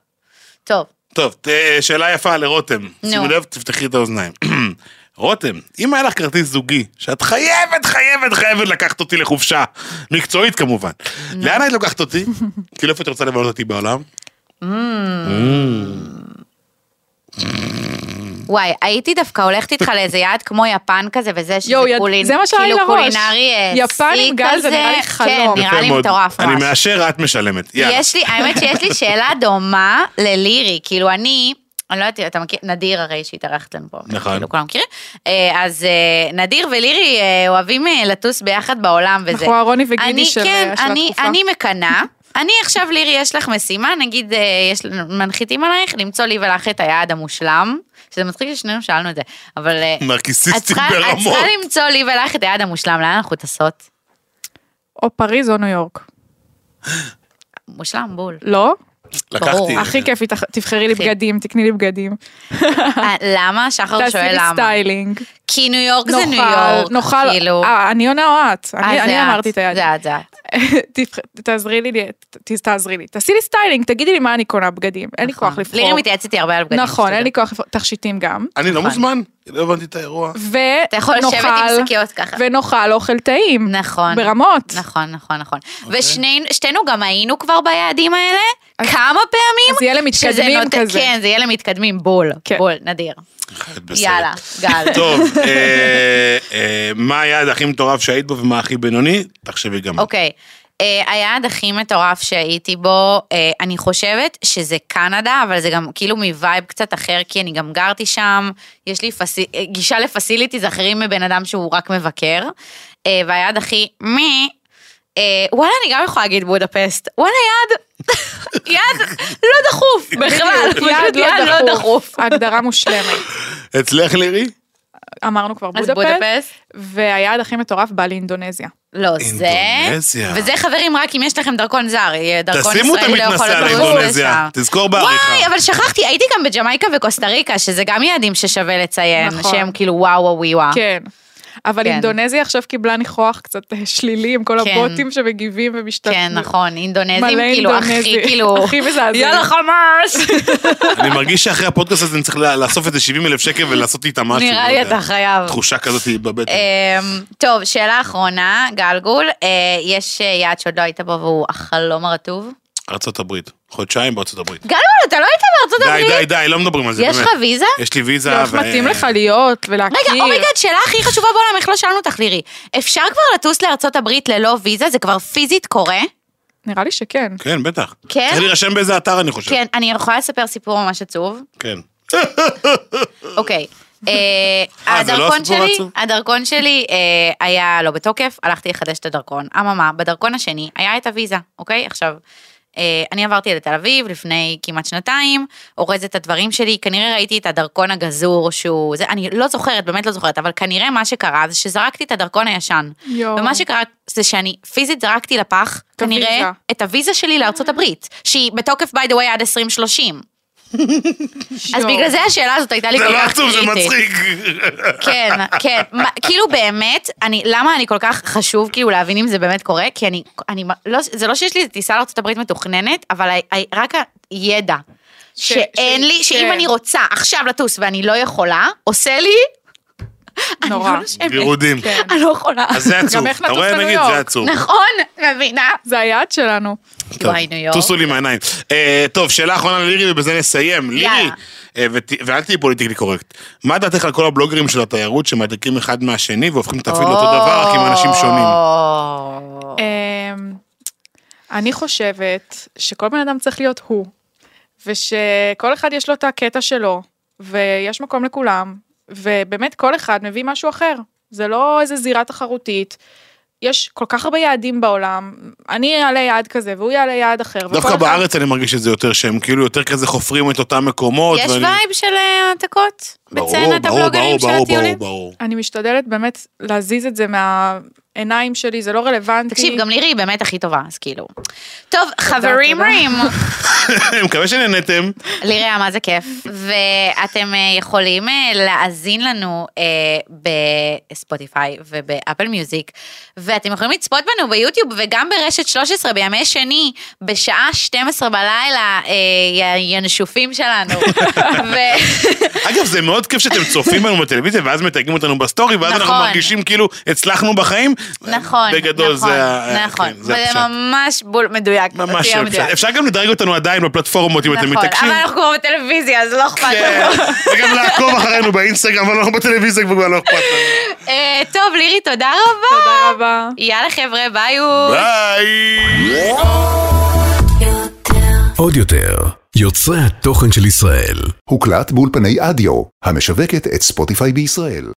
טוב,
טוב, ת- אה, שאלה יפה לרותם.
נו.
שימו לב, תפתחי את האוזניים. רותם, אם היה לך כרטיס זוגי, שאת חייבת, חייבת, חייבת לקחת אותי לחופשה, מקצועית כמובן, לאן היית לוקחת אותי? כאילו איפה את רוצה לבלות אותי בעולם?
וואי, הייתי דווקא הולכת איתך לאיזה יעד כמו יפן כזה וזה, שזה
יואו, יד-
קולין,
זה מה שעלה לי
כאילו
לראש.
קולינרי אה,
יפן עם
סי
גל זה
כזה.
נראה לי חלום.
כן, נראה
יפה
לי
מאוד.
מטורף
אני
ממש.
מאשר, את משלמת. יאללה.
יש לי, האמת שיש לי שאלה דומה ללירי, כאילו אני, אני לא יודעת, אתה מכיר, נדיר הרי שהתארח אצלנו פה,
נכון.
כאילו כולם מכירים, אה, אז אה, נדיר ולירי אה, אוהבים אה, לטוס ביחד בעולם וזה.
אנחנו הרוני וגיני
אני-
של,
כן,
אה, של
אני-
התקופה.
אני מקנאה. אני עכשיו, לירי, יש לך משימה, נגיד, אה, יש, מנחיתים עלייך למצוא לי ולך את היעד המושלם, שזה מצחיק ששנינו שאלנו את זה, אבל אה, את
נרקיסיסטים
צריכה את
ברמות.
צריכה למצוא לי ולך את היעד המושלם, לאן אנחנו טסות?
או פריז או ניו יורק.
מושלם, בול.
לא?
לקחתי.
ברור.
הכי כיף, לי, תח- תבחרי לי
הכי.
בגדים, תקני לי בגדים.
אה, למה? שחר
תעשי
שואל
לי
למה.
סטיילינג.
כי ניו יורק זה
נאכל,
ניו יורק,
נאכל,
כאילו.
אה, אני עונה או את?
אה,
אני
זה
אני אמרתי את היד.
זה את, זה את.
תבח- תעזרי לי, ת- תעזרי לי. תעשי לי סטיילינג, תגידי לי מה אני קונה בגדים. אין לי כוח
נכון.
לבחור.
לירי מתייעץ איתי הרבה על בגדים.
נכון, אין לי
שתדע.
כוח לבחור. תכשיטים גם.
אני
נכון.
לא מוזמן? לא הבנתי את האירוע.
ונאכל,
אתה יכול לשבת עם שקיות ככה.
ונאכל אוכל טעים.
נכון.
ברמות.
נכון, נכון, נכון.
אוקיי.
ושתינו גם היינו כבר ביעדים האלה, כמה פעמים.
אז יהיה למתקדמים
שזה נותן-
כזה.
כן, זה יהיה למתקדמים, בול.
כן.
בול, נדיר.
בסדר.
יאללה, גל.
טוב, אה, אה, מה היעד הכי מטורף שהיית בו ומה הכי בינוני? תחשבי גם.
אוקיי. אה, היעד הכי מטורף שהייתי בו, אה, אני חושבת שזה קנדה, אבל זה גם כאילו מווייב קצת אחר, כי אני גם גרתי שם, יש לי פסי, אה, גישה לפסיליטיז אחרים מבן אדם שהוא רק מבקר. אה, והיעד הכי מי, אה, וואלה, אני גם יכולה להגיד בודפסט. וואלה, יעד, יעד לא דחוף בכלל,
בדיוק,
פשוט יעד לא דחוף.
הגדרה מושלמת.
אצלך לירי?
אמרנו כבר
אז
בודפסט,
בודפסט?
והיעד הכי מטורף בא לאינדונזיה.
לא, זה...
אינדונזיה.
וזה חברים, רק אם יש לכם דרכון זר, יהיה דרכון
תשימו את
ישראלי לא יכול
המתנשא על
לטוס
אינדונזיה,
לשם.
תזכור בעריכה.
וואי, אבל שכחתי, הייתי גם בג'מייקה וקוסטה ריקה, שזה גם יעדים ששווה לציין,
נכון.
שהם כאילו וואו וואו וואו.
כן. אבל
כן.
אינדונזיה עכשיו קיבלה ניחוח קצת אה, שלילי עם כל
כן.
הבוטים שמגיבים ומשתתפים.
כן, נכון, אינדונזים,
מלא
כאילו, הכי,
אינדונזים.
כאילו,
הכי מזעזעים.
יאללה חמאס!
אני מרגיש שאחרי הפודקאסט הזה אני צריך לה- לאסוף איזה 70 אלף שקל ולעשות איתה משהו.
נראה
לא
לי
יודע.
אתה חייב.
תחושה כזאת היא בבטן.
אמ, טוב, שאלה אחרונה, גלגול, אה, יש אה, יעד שעוד לא היית בו והוא החלום הרטוב?
ארצות הברית. חודשיים בארצות הברית.
גלגול, אתה לא היית בארצות
די,
הברית?
די, די, לא מדברים על זה,
יש
באמת.
לך ויזה?
יש לי ויזה.
לא איך
ו-
מתאים לך להיות ולהכיר.
רגע, אומייגד, שאלה הכי חשובה בעולם, איך לא שאלנו אותך, לירי. אפשר כבר לטוס לארצות הברית ללא ויזה? זה כבר פיזית קורה?
נראה לי שכן.
כן, בטח.
כן?
צריך להירשם באיזה אתר, אני חושב.
כן, אני יכולה לספר סיפור ממש עצוב.
כן.
אוקיי. אה,
אה, זה לא
הדרכון
הסיפור
שלי,
העצוב?
הדרכון שלי אה, היה לא בתוקף, הלכתי לחדש את הדרכון. אממה, בדרכון השני היה את הוויזה, אוקיי? עכשיו, אה, אני עברתי לתל אביב לפני כמעט שנתיים, אורזת את הדברים שלי, כנראה ראיתי את הדרכון הגזור שהוא, זה, אני לא זוכרת, באמת לא זוכרת, אבל כנראה מה שקרה זה שזרקתי את הדרכון הישן.
יואו.
ומה שקרה זה שאני פיזית זרקתי לפח, כנראה,
הוויזה.
את הוויזה שלי לארצות הברית, שהיא בתוקף by the way עד 2030. אז בגלל זה השאלה הזאת הייתה לי
זה
כל
לא
כך
עצוב, זה
קריטית.
מצחיק.
כן, כן. מה, כאילו באמת, אני, למה אני כל כך חשוב כאילו להבין אם זה באמת קורה? כי אני, אני לא, זה לא שיש לי איזה טיסה לארה"ב מתוכננת, אבל ה, ה, רק הידע
ש-
שאין
ש-
לי, שאם
כן.
אני רוצה עכשיו לטוס ואני לא יכולה, עושה לי, אני
נורא.
לא נושמת.
גירודים.
כן.
אני לא יכולה.
אז זה עצוב.
איך
אתה
נטוס
רואה,
לניו
נגיד,
יורק?
זה עצוב.
נכון, מבינה?
זה היעד שלנו.
טוב,
וואי, ניו יורק.
טוסו לי מהעיניים. אה, טוב, שאלה אחרונה ללירי ובזה נסיים. לירי,
יאללה.
אה, ות- ואל תהיי פוליטיקלי קורקט. מה דעתך על כל הבלוגרים של התיירות שמדליקים אחד מהשני והופכים את הפעיל לאותו דבר רק עם אנשים שונים?
או.
אמ, אני חושבת שכל בן אדם צריך להיות הוא, ושכל אחד יש לו את הקטע שלו, ויש מקום לכולם, ובאמת כל אחד מביא משהו אחר. זה לא איזה זירה תחרותית. יש כל כך הרבה יעדים בעולם, אני אעלה יעד כזה והוא יעלה יעד אחר. וכל
דווקא
אחד-
בארץ אני מרגיש את זה יותר, שהם כאילו יותר כזה חופרים את אותם מקומות.
יש
ואני-
וייב של אה, העתקות?
ברור,
בציינת
ברור,
הבלוגרים של
ברור, ברור,
הטיולים?
ברור.
אני משתדלת באמת להזיז את זה מהעיניים שלי, זה לא רלוונטי.
אוקיי.
תקשיב, גם לירי היא באמת הכי טובה, אז כאילו. טוב, חברים
תודה.
רים,
אני מקווה שנהנתם.
לירי היה מה זה כיף, ואתם אה, יכולים אה, להאזין לנו אה, בספוטיפיי ובאפל מיוזיק, ואתם יכולים לצפות בנו ביוטיוב וגם ברשת 13 בימי שני, בשעה 12 בלילה, אה, י- ינשופים שלנו. ו-
אגב, זה מאוד כיף שאתם צופים בנו בטלוויזיה, ואז מתייגים אותנו בסטורי, ואז אנחנו
נכון.
מרגישים כאילו הצלחנו בחיים.
נכון,
בגדול
נכון,
זה ה-
נכון,
כן, זה
וזה
הפשט.
ממש בול מדויק.
ממש
תהיה
אפשר.
מדויק.
אפשר גם לדרג אותנו עדיין בפלטפורמות אם אתם
נכון,
מתעקשים.
אבל אנחנו כבר בטלוויזיה, אז לא אכפת
כן.
לנו.
וגם לעקוב אחרינו באינסטגרם, אבל אנחנו בטלוויזיה כבר לא אכפת לנו.
אה, טוב, לירי, תודה רבה.
תודה רבה.
יאללה חבר'ה, ביי הוא.
ביי!
עוד יותר, יוצרי התוכן של ישראל.
הוקלט באולפני אדיו, המשווקת את ספוטיפיי בישראל.